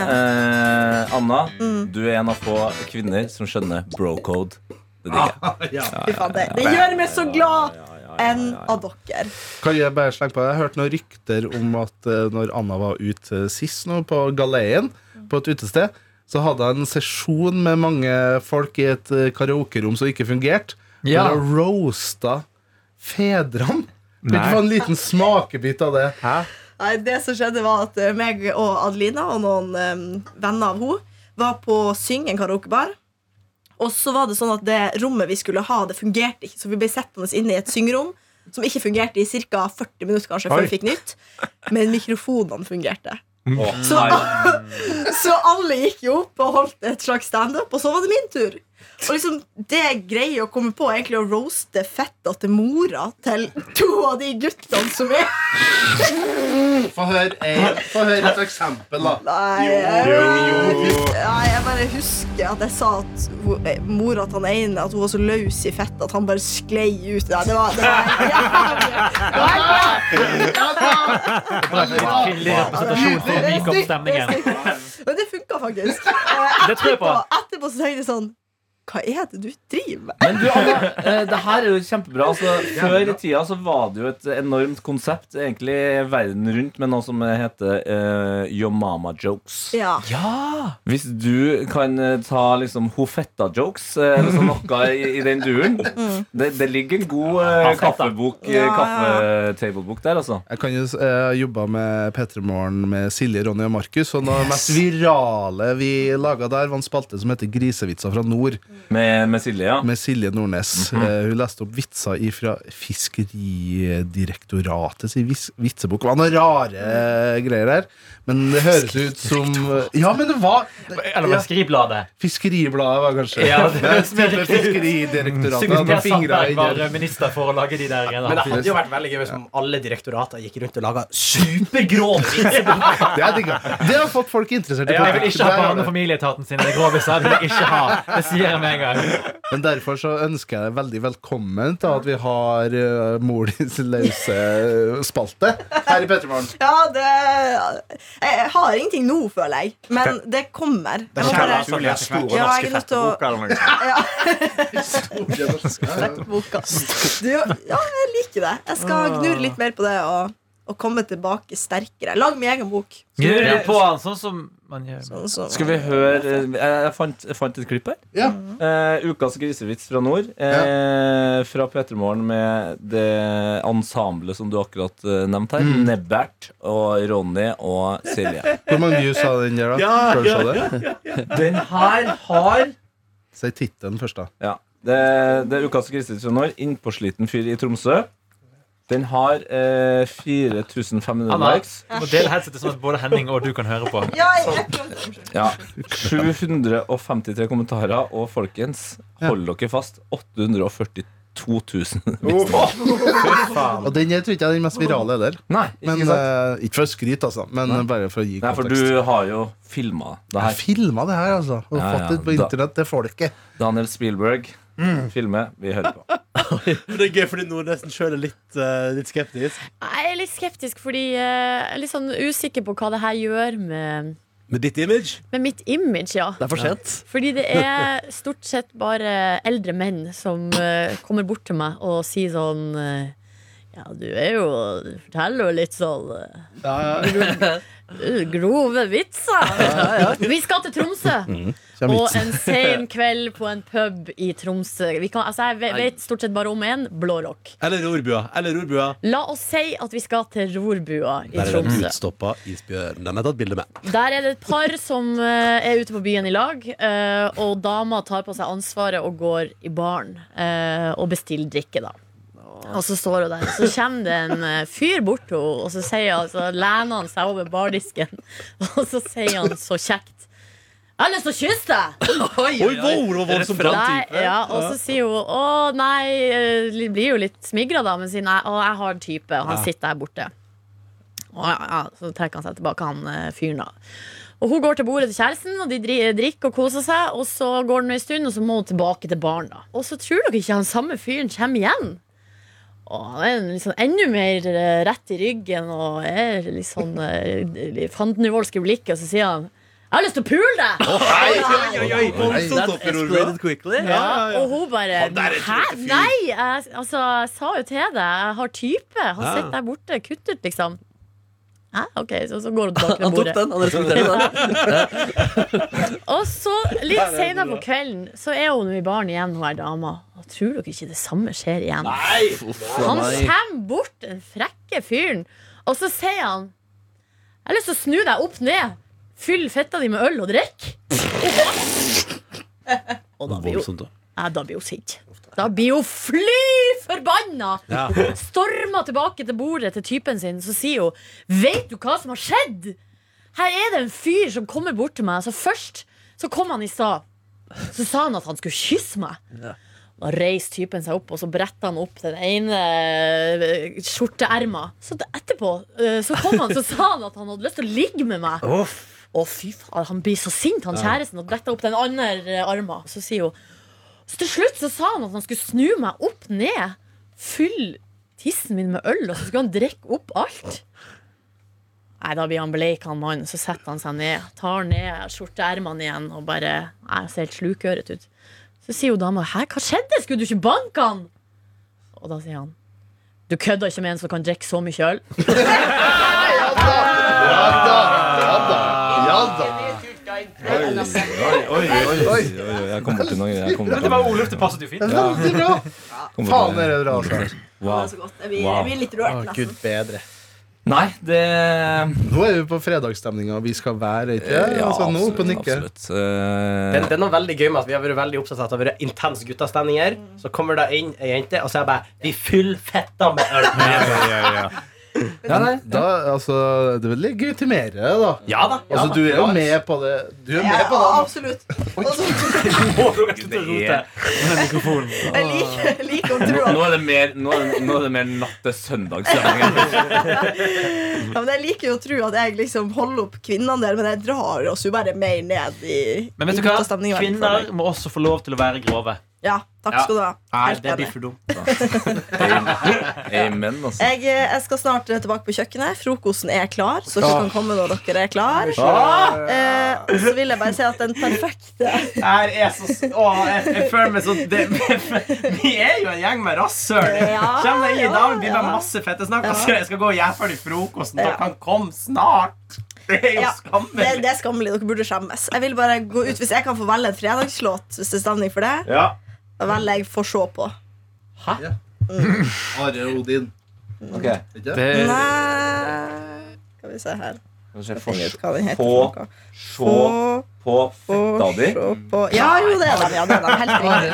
Speaker 2: Eh, Anna,
Speaker 7: Mm.
Speaker 2: du er en av få kvinner som skjønner bro-code. Det digger jeg.
Speaker 7: Fy faen, det, det gjør meg så glad enn av dere.
Speaker 5: Kan jeg bare slenge på Jeg hørte noen rykter om at eh, når Anna var ute eh, sist nå på galeien, på et utested, så hadde hun en sesjon med mange folk i et eh, karaokerom som ikke fungerte.
Speaker 3: Ja.
Speaker 5: Der hun roasta fedrene. Vil
Speaker 4: Nei.
Speaker 5: du få en liten smakebit av det?
Speaker 7: Nei, det som skjedde var at eh, meg og Adelina og noen eh, venner av henne var på Syng, en karaokebar. Og så var det sånn at det rommet vi skulle ha, det fungerte ikke. Så vi ble sittende inne i et syngerom som ikke fungerte i ca. 40 minutter kanskje før
Speaker 4: Oi.
Speaker 7: vi fikk nytt. Men mikrofonene fungerte.
Speaker 2: Å,
Speaker 7: Så,
Speaker 2: nei.
Speaker 7: så alle gikk jo opp og holdt et slags standup, og så var det min tur. Og liksom, det jeg greier å komme på, er egentlig å roaste fetta til mora til to av de guttene som er
Speaker 5: Få høre, en- få høre et eksempel, da.
Speaker 7: Nei, jeg- Nei, jeg bare husker at jeg sa at hun- eh, mora til han ene At hun var så løs i fett at han bare sklei ut. Nei, det var, det var jævlig.
Speaker 3: Kvinnelig representasjon for å myke opp stemningen.
Speaker 7: Men det funka faktisk. Eh,
Speaker 3: Det tror jeg på.
Speaker 7: Etterpå, etterpå så tenkte jeg sånn Hva er det du driver med?
Speaker 2: Men du, Anna, eh, det her er jo kjempebra. Altså, før i tida så var det jo et enormt konsept egentlig verden rundt med noe som heter eh, Yo Mama Jokes.
Speaker 7: Ja.
Speaker 2: Hvis du kan eh, ta liksom Hofetta-jokes, eh, eller sånn noe i, i den duren det, det ligger en god eh, kaffebok, eh,
Speaker 7: Mm. Ja, ja.
Speaker 2: kaffetablebok der, altså.
Speaker 5: Jeg kan jo s- eh, jobba med P3 Morgen med Silje, Ronny og Markus. Og noe av det mest virale vi laga der, var en spalte som heter Grisevitser fra nord.
Speaker 2: Med, med Silje, ja.
Speaker 5: med Silje Nordnes.
Speaker 3: Mhm.
Speaker 5: Eh, hun leste opp vitser fra Fiskeridirektoratet sin vis vitsebok. Det var noen rare eh, greier her. Men det høres ut som eh, Ja, men det var
Speaker 3: Eller
Speaker 5: Ja.
Speaker 3: bare skrivbladet.
Speaker 5: Fiskeribladet, var kanskje.
Speaker 3: Ja, det høres mer
Speaker 5: Type Fiskeridirektoratet
Speaker 3: Sikkert
Speaker 5: hadde
Speaker 3: Per
Speaker 5: fingra
Speaker 3: Sandberg
Speaker 5: i
Speaker 3: var minister for å lage de der
Speaker 6: Men det
Speaker 3: greiene.
Speaker 6: hadde jo vært veldig gøy hvis alle direktorater gikk rundt og laga supergrå vitser.
Speaker 5: Det er digga. Det har fått folk interessert i
Speaker 3: Ja, jeg vil
Speaker 5: politikk.
Speaker 3: ikke ha
Speaker 5: Der har
Speaker 3: barne- og
Speaker 5: det.
Speaker 3: familieetaten sine groviser. Det vil jeg ikke ha. Det sier jeg med en gang.
Speaker 5: Men derfor så ønsker jeg deg veldig velkommen til at vi har uh, Mor dins løse eh, spalte her i Pettermorgen.
Speaker 7: ja, det Jeg har ingenting nå, føler jeg. Men det kommer. Jeg må
Speaker 4: Kjell,
Speaker 7: bare
Speaker 4: altså, den store
Speaker 7: Ja, jeg
Speaker 4: norske
Speaker 7: er nødt til å-
Speaker 4: fetteboka eller noe.
Speaker 7: ja.
Speaker 5: Ja.
Speaker 7: boka. Du, ja, jeg liker det. Jeg skal gnure litt mer på det og, og komme tilbake sterkere. Lag min egen bok.
Speaker 3: Gnur du på han sånn som man gjør?
Speaker 7: Sånn som-
Speaker 2: Skal vi høre eh, Jeg fant, jeg fant et klipp her.
Speaker 5: Ja.
Speaker 2: Eh, ukas grisevits fra nord. Eh, fra P3 Morgen med det ensemblet som du akkurat eh, nevnte her. Nebbert og Ronny og Silje.
Speaker 5: Hvor mange views har den der, da? Skal du se det?
Speaker 2: Den her har
Speaker 5: Si tittelen først, da.
Speaker 2: Ja. Det, det er ukas krisetrønder. Innpåsliten fyr i Tromsø. Den har eh, 4500
Speaker 3: Anna.
Speaker 2: likes.
Speaker 3: Du må dele headsetet sånn at både Henning og du kan høre på.
Speaker 7: Ja, jeg, jeg,
Speaker 2: Ja. 753 kommentarer. Og folkens, hold dere fast. 842 000 visninger.
Speaker 5: Og den jeg tror ikke er den mest virale heller.
Speaker 2: Nei,
Speaker 5: Men,
Speaker 2: ikke sant?
Speaker 5: eh, ikke for å skryte, altså, men eh, bare for å gi
Speaker 2: Nei, for
Speaker 5: kontekst.
Speaker 2: du har jo filma det
Speaker 5: Jeg
Speaker 2: her.
Speaker 5: filma det her, altså. Og
Speaker 2: Ja, ja,
Speaker 5: fått det på
Speaker 2: da-
Speaker 5: internett til folket.
Speaker 2: Daniel Spielberg filmer, vi hører på.
Speaker 8: Det er gøy fordi noen nesten sjøl er litt, eh, litt skeptisk.
Speaker 9: Jeg er litt skeptisk, fordi eh, jeg er litt sånn usikker på hva det her gjør med,
Speaker 8: Med ditt image.
Speaker 9: med mitt image. ja
Speaker 8: Det er for sent.
Speaker 9: Fordi det er stort sett bare eldre menn som eh, kommer bort til meg og sier sånn eh, Ja, du er jo Du forteller jo litt sånn eh, gro- grove vitser. Vi skal til Tromsø!
Speaker 5: Kjem
Speaker 9: Og
Speaker 5: hit.
Speaker 9: en sen kveld på en pub i Tromsø. Vi kan, altså, jeg ve- vet stort sett bare om én blårock.
Speaker 8: Eller rorbua. Eller rorbua.
Speaker 9: La oss si at vi skal til Rorbua i
Speaker 8: Der er det
Speaker 9: Tromsø.
Speaker 8: utstoppa isbjørn. Den har jeg tatt bilde med.
Speaker 9: Der er det et par som eh, er ute på byen i lag, eh, og dama tar på seg ansvaret og går i baren eh, og bestiller drikke, da. Og så står hun der, så kommer det en eh, fyr bort til henne, og så sier han, så lener han seg over bardisken, og så sier han så kjekt Jeg har lyst til å kysse deg!
Speaker 8: Oi, wow, det var voldsomt bra
Speaker 9: Nei, ja, og så sier hun å nei, eh, li- blir jo litt smigra da, men sier nei, å jeg har en type, og han sitter der borte. Å, ja, ja. Så trekker han seg tilbake, han eh, fyren da. Og hun går til bordet til kjæresten, og de dri- drikker og koser seg. Og så går det en stund, og så må hun tilbake til baren. da Og så tror dere ikke han samme fyren kommer igjen. Og han er liksom enda mer eh, rett i ryggen og er litt sånn eh, fandenivoldsk i blikket, og så sier han jeg har lyst til å pule deg!
Speaker 8: Voldsomt opp i rorbua.
Speaker 9: ja, Og hun bare Hæ? Nei! Jeg, altså, jeg sa jo til deg, jeg har type. Han
Speaker 8: Ja.
Speaker 9: sitter der borte, kutt ut, liksom. Hæ? OK, så, så går hun tilbake til
Speaker 10: Han tok
Speaker 9: bordet.
Speaker 10: den, han respekterer den.
Speaker 9: Og så litt senere på kvelden Så er hun jo i baren igjen, hun er dama Og tror dere ikke det samme skjer igjen Han kommer bort, den frekke fyren Og så sier han Jeg har lyst til å snu deg opp ned Fyll fetta di med øl og drikk Og da blir hun
Speaker 8: Voldsomt, da.
Speaker 9: Nei, da blir hun sint. Da blir hun fly forbanna! Stormer tilbake til bordet til typen sin, så sier hun Veit du hva som har skjedd? Her er det en fyr som kommer bort til meg. Så først så kom han i stad. Så sa han at han skulle kysse meg. Da reiste typen seg opp, og så bretta han opp den ene eh, skjorteerma. Så da- etterpå eh, så kom han, så sa han at han hadde lyst til å ligge med meg. Å, fy faen, han blir så sint, han kjæresten, og bretter opp den andre eh, arma. Så sier hun Så til slutt så sa han at han skulle snu meg opp ned, fylle tissen min med øl, og så skulle han drikke opp alt. Nei, da blir han bleik, han mannen. Så setter han seg ned, tar ned skjorteermene igjen og bare Nei, han ser helt slukøret ut. Så sier jo dama Hæ, hva skjedde? Skulle du ikke banke han? Og da sier han Du kødder ikke med en som kan drikke så mye øl?
Speaker 2: Oi, oi, oi, oi, oi, jeg kom borti noe. Jeg kom borti
Speaker 3: Det var
Speaker 2: noe.
Speaker 3: Oluf, det passet jo fint.
Speaker 5: Veldig bra!
Speaker 2: Kom borti
Speaker 5: Faen, det
Speaker 2: noe.
Speaker 5: er bra. altså.
Speaker 2: Wow.
Speaker 7: så godt. Jeg blir,
Speaker 2: Wow.
Speaker 7: jeg blir litt rørt. altså. nesten.
Speaker 8: Gud bedre.
Speaker 2: Nei, det
Speaker 5: Nå er vi på fredagsstemninga. Vi skal være, ikke ja, altså, Nå opp og nikke.
Speaker 2: absolutt. Eh,
Speaker 6: Den, den var veldig gøy med at vi har vært veldig opptatt av at det har vært intense guttastemninger. Så kommer det inn ei jente, og så er jeg bare Vi fyller fetta med øl!
Speaker 2: ja, nei.
Speaker 5: Da, altså, det vil legitimere det, da.
Speaker 6: Ja da. Ja,
Speaker 5: Altså,
Speaker 6: da.
Speaker 5: du er jo med på det. Du er med på
Speaker 7: Ja,
Speaker 5: det.
Speaker 7: absolutt. Altså,
Speaker 2: Det er-
Speaker 7: jeg liker, jeg liker å
Speaker 2: Nå,
Speaker 7: tro at
Speaker 2: nå er det mer, nå er det, nå er det mer natt til søndagsstemning.
Speaker 7: Ja, men Jeg liker jo å tro at jeg liksom holder opp kvinnene der, men jeg drar oss jo bare mer ned i
Speaker 3: Men vet
Speaker 7: i
Speaker 3: du hva?
Speaker 7: guttastemningen, i hvert fall.
Speaker 3: Kvinner må også få lov til å være grove.
Speaker 7: Ja, takk
Speaker 6: Ja.
Speaker 7: skal du ha.
Speaker 6: Nei,
Speaker 7: Helt
Speaker 6: det
Speaker 7: enig.
Speaker 6: blir for dumt.
Speaker 2: Amen, altså.
Speaker 7: Jeg, eh, jeg skal snart eh, tilbake på kjøkkenet. Frokosten er klar, så dere kan komme når dere er klar. Eh, og så vil jeg bare si at den perfekte
Speaker 6: Her er så s- Å, jeg, jeg føler meg så det, Vi er jo en gjeng med rasshøl.
Speaker 7: Ja,
Speaker 6: Kjem deg inn i
Speaker 7: ja,
Speaker 6: dag, vi har
Speaker 7: ja.
Speaker 6: masse fette snakk.
Speaker 7: Ja.
Speaker 6: og så Jeg skal gå og gjøre ferdig frokosten.
Speaker 7: Ja.
Speaker 6: Dere kan komme snart. Det er jo
Speaker 7: Ja. det,
Speaker 6: skammelig.
Speaker 7: det er skammelig. Dere burde skjemmes. Jeg vil bare gå ut Hvis jeg kan få velge en fredagslåt, hvis det er stemning for det,
Speaker 2: Ja.
Speaker 7: da velger jeg 'Få se på'.
Speaker 5: Are Odin.
Speaker 2: Ok,
Speaker 5: Ikke?
Speaker 3: Det er
Speaker 7: Nei Skal vi se her
Speaker 2: nå ser jeg
Speaker 7: Hva
Speaker 2: forskjell.
Speaker 7: den heter
Speaker 2: Få-
Speaker 7: for noe.
Speaker 2: Se på fetta di.
Speaker 7: se på Ja, jo, det er den. Ja, det er den. Helt riktig.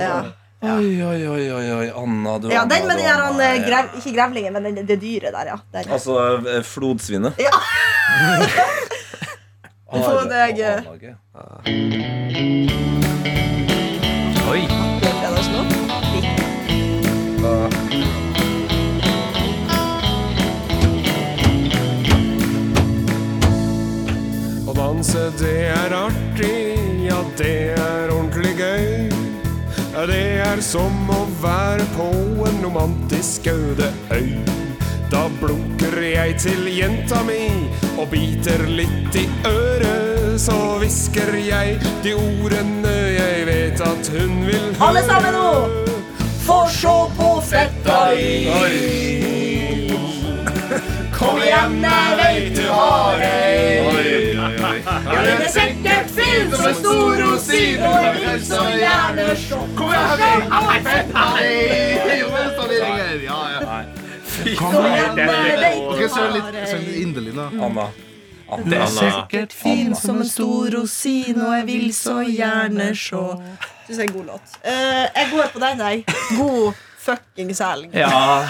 Speaker 7: Ja.
Speaker 2: Oi, oi, oi, oi, oi, Anna, du
Speaker 7: Ja,
Speaker 2: Anna,
Speaker 7: den med
Speaker 2: du,
Speaker 7: den der,
Speaker 2: Anna,
Speaker 7: han, eh,
Speaker 2: ja.
Speaker 7: grev, ikke grevlingen, men den, det dyret der, ja. Den, ja.
Speaker 2: Altså eh, flodsvinet.
Speaker 7: Ja. Få deg, eh, det er fredagslåt. Fint.
Speaker 11: Å danse, det er artig, ja det er ordentlig gøy.
Speaker 10: er som å være på en romantisk øde øy. Da blunker jeg til jenta mi og biter litt i øret. Så hvisker jeg de ordene jeg vet at hun vil høre.
Speaker 7: Alle sammen nå!
Speaker 10: Få sjå på fetta di. Kom igjen, jeg veit du har ei. Ja, den er sikkert fin som en stor rosin, og jeg vil så gjerne sjå Kom igjen, jeg vet du har ei.
Speaker 5: Kom igjen! Ok, søren litt
Speaker 7: Bare-
Speaker 5: søren litt inderlig nå.
Speaker 2: Anna.
Speaker 5: Det
Speaker 2: Anna.
Speaker 5: er sikkert fin som en stor
Speaker 7: rosin, og jeg vil så gjerne sjå. Syns jeg er en god låt. Eh, jeg går på den, jeg. God fuckings helg.
Speaker 2: Ja.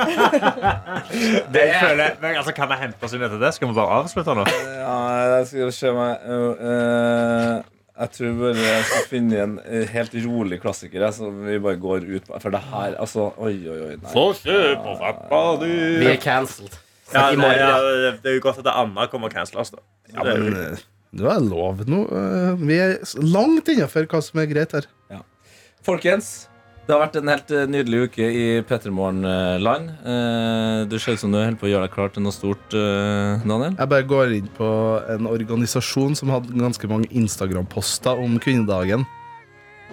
Speaker 4: Det føler, men, altså, kan jeg hente oss inn etter det? Skal vi bare avslutte nå?
Speaker 2: Ja, jeg skal se meg øh, øh, Jeg tror bare jeg skal finne en øh, helt rolig klassiker jeg, som vi bare går ut på. For det her, altså Oi, oi, oi. Nei.
Speaker 6: Vi er cancelled.
Speaker 4: Ja,
Speaker 6: I
Speaker 4: det,
Speaker 6: morgen, ja.
Speaker 4: ja, det er jo godt at det andre kommer og canceler oss, da.
Speaker 5: Ja, men eh, det var lov nå. Eh, Vi er s- langt innafor hva som er greit her.
Speaker 2: Folkens, det har vært en helt øh, nydelig uke i Pettermorgen-land. Du ser ut som du holder på å gjøre deg klar til noe stort, øh, Daniel.
Speaker 5: Jeg bare går inn på en organisasjon som hadde ganske mange Instagram-poster om kvinnedagen.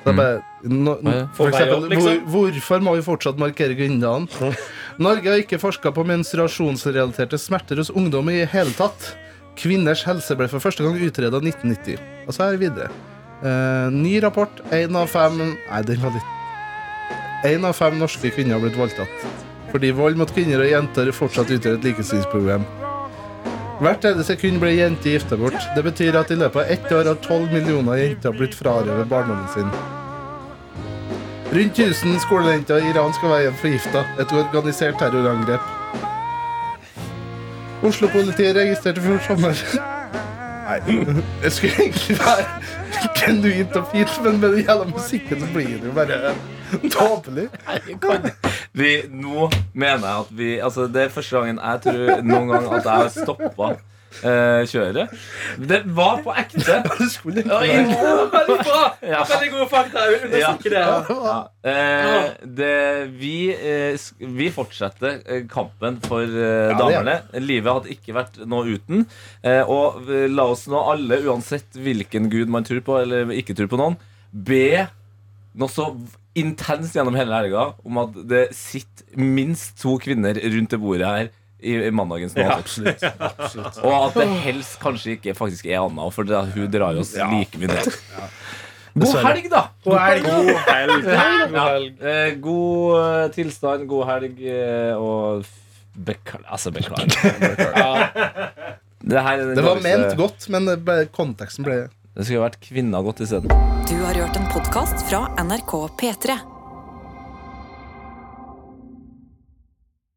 Speaker 5: Så jeg bare, no,
Speaker 2: Ja, ja.
Speaker 5: for
Speaker 2: Få vei
Speaker 5: eksempel,
Speaker 2: opp, liksom.
Speaker 5: hvor, hvorfor må vi fortsatt markere kvinnedagen? Norge har ikke forska på menstruasjonsrelaterte smerter hos ungdom i hele tatt. Kvinners helse ble for første gang utreda 1990. Og så her videre. Eh, ny rapport. Én av fem Nei, den var litt Én av fem norske kvinner har blitt voldtatt. Fordi vold mot kvinner og jenter fortsatt utgjør et likestillingsproblem. Hvert tredje sekund blir jenter gifta bort. Det betyr at i løpet av ett år har 12 millioner jenter blitt frarøvet barndommen sin. Rundt 1000 skolejenter i Iran skal være forgifta etter organisert terrorangrep. Oslo-politiet registrerte før sommer Nei, det skulle egentlig være genuint og fint, men med den jævla musikken så blir det jo bare tåpelig.
Speaker 2: Vi, nå mener jeg at vi Altså, det er første gangen jeg tror noen gang at jeg har stoppa eh, kjøret. Det var på ekte. Ja, Veldig bra! Veldig gode fakta. Jeg vil understreke det. Eh, det vi, eh, sk- vi fortsetter eh, kampen for eh,
Speaker 5: Ja, det gjør
Speaker 2: damene. Livet hadde ikke vært noe uten. Eh, og eh, la oss nå alle, uansett hvilken gud man tror på eller ikke tror på noen, be noe så intenst gjennom hele helga om at det sitter minst to kvinner rundt det bordet her i i mandagens nå.
Speaker 5: Absolutt. absolutt.
Speaker 2: Og at det helst kanskje ikke faktisk er Anna, for det, hun drar jo oss like mye ned. God helg, da! God helg.
Speaker 4: God helg.
Speaker 2: Eh, god eh, tilstand, god helg eh, og f- bekla- Altså, beklager. beklager. Det, her er den
Speaker 5: Det var
Speaker 2: dårligste-
Speaker 5: ment godt, men det bare- konteksten ble
Speaker 2: Det skulle vært kvinna godt isteden.
Speaker 1: Du har hørt en podkast fra NRK P3.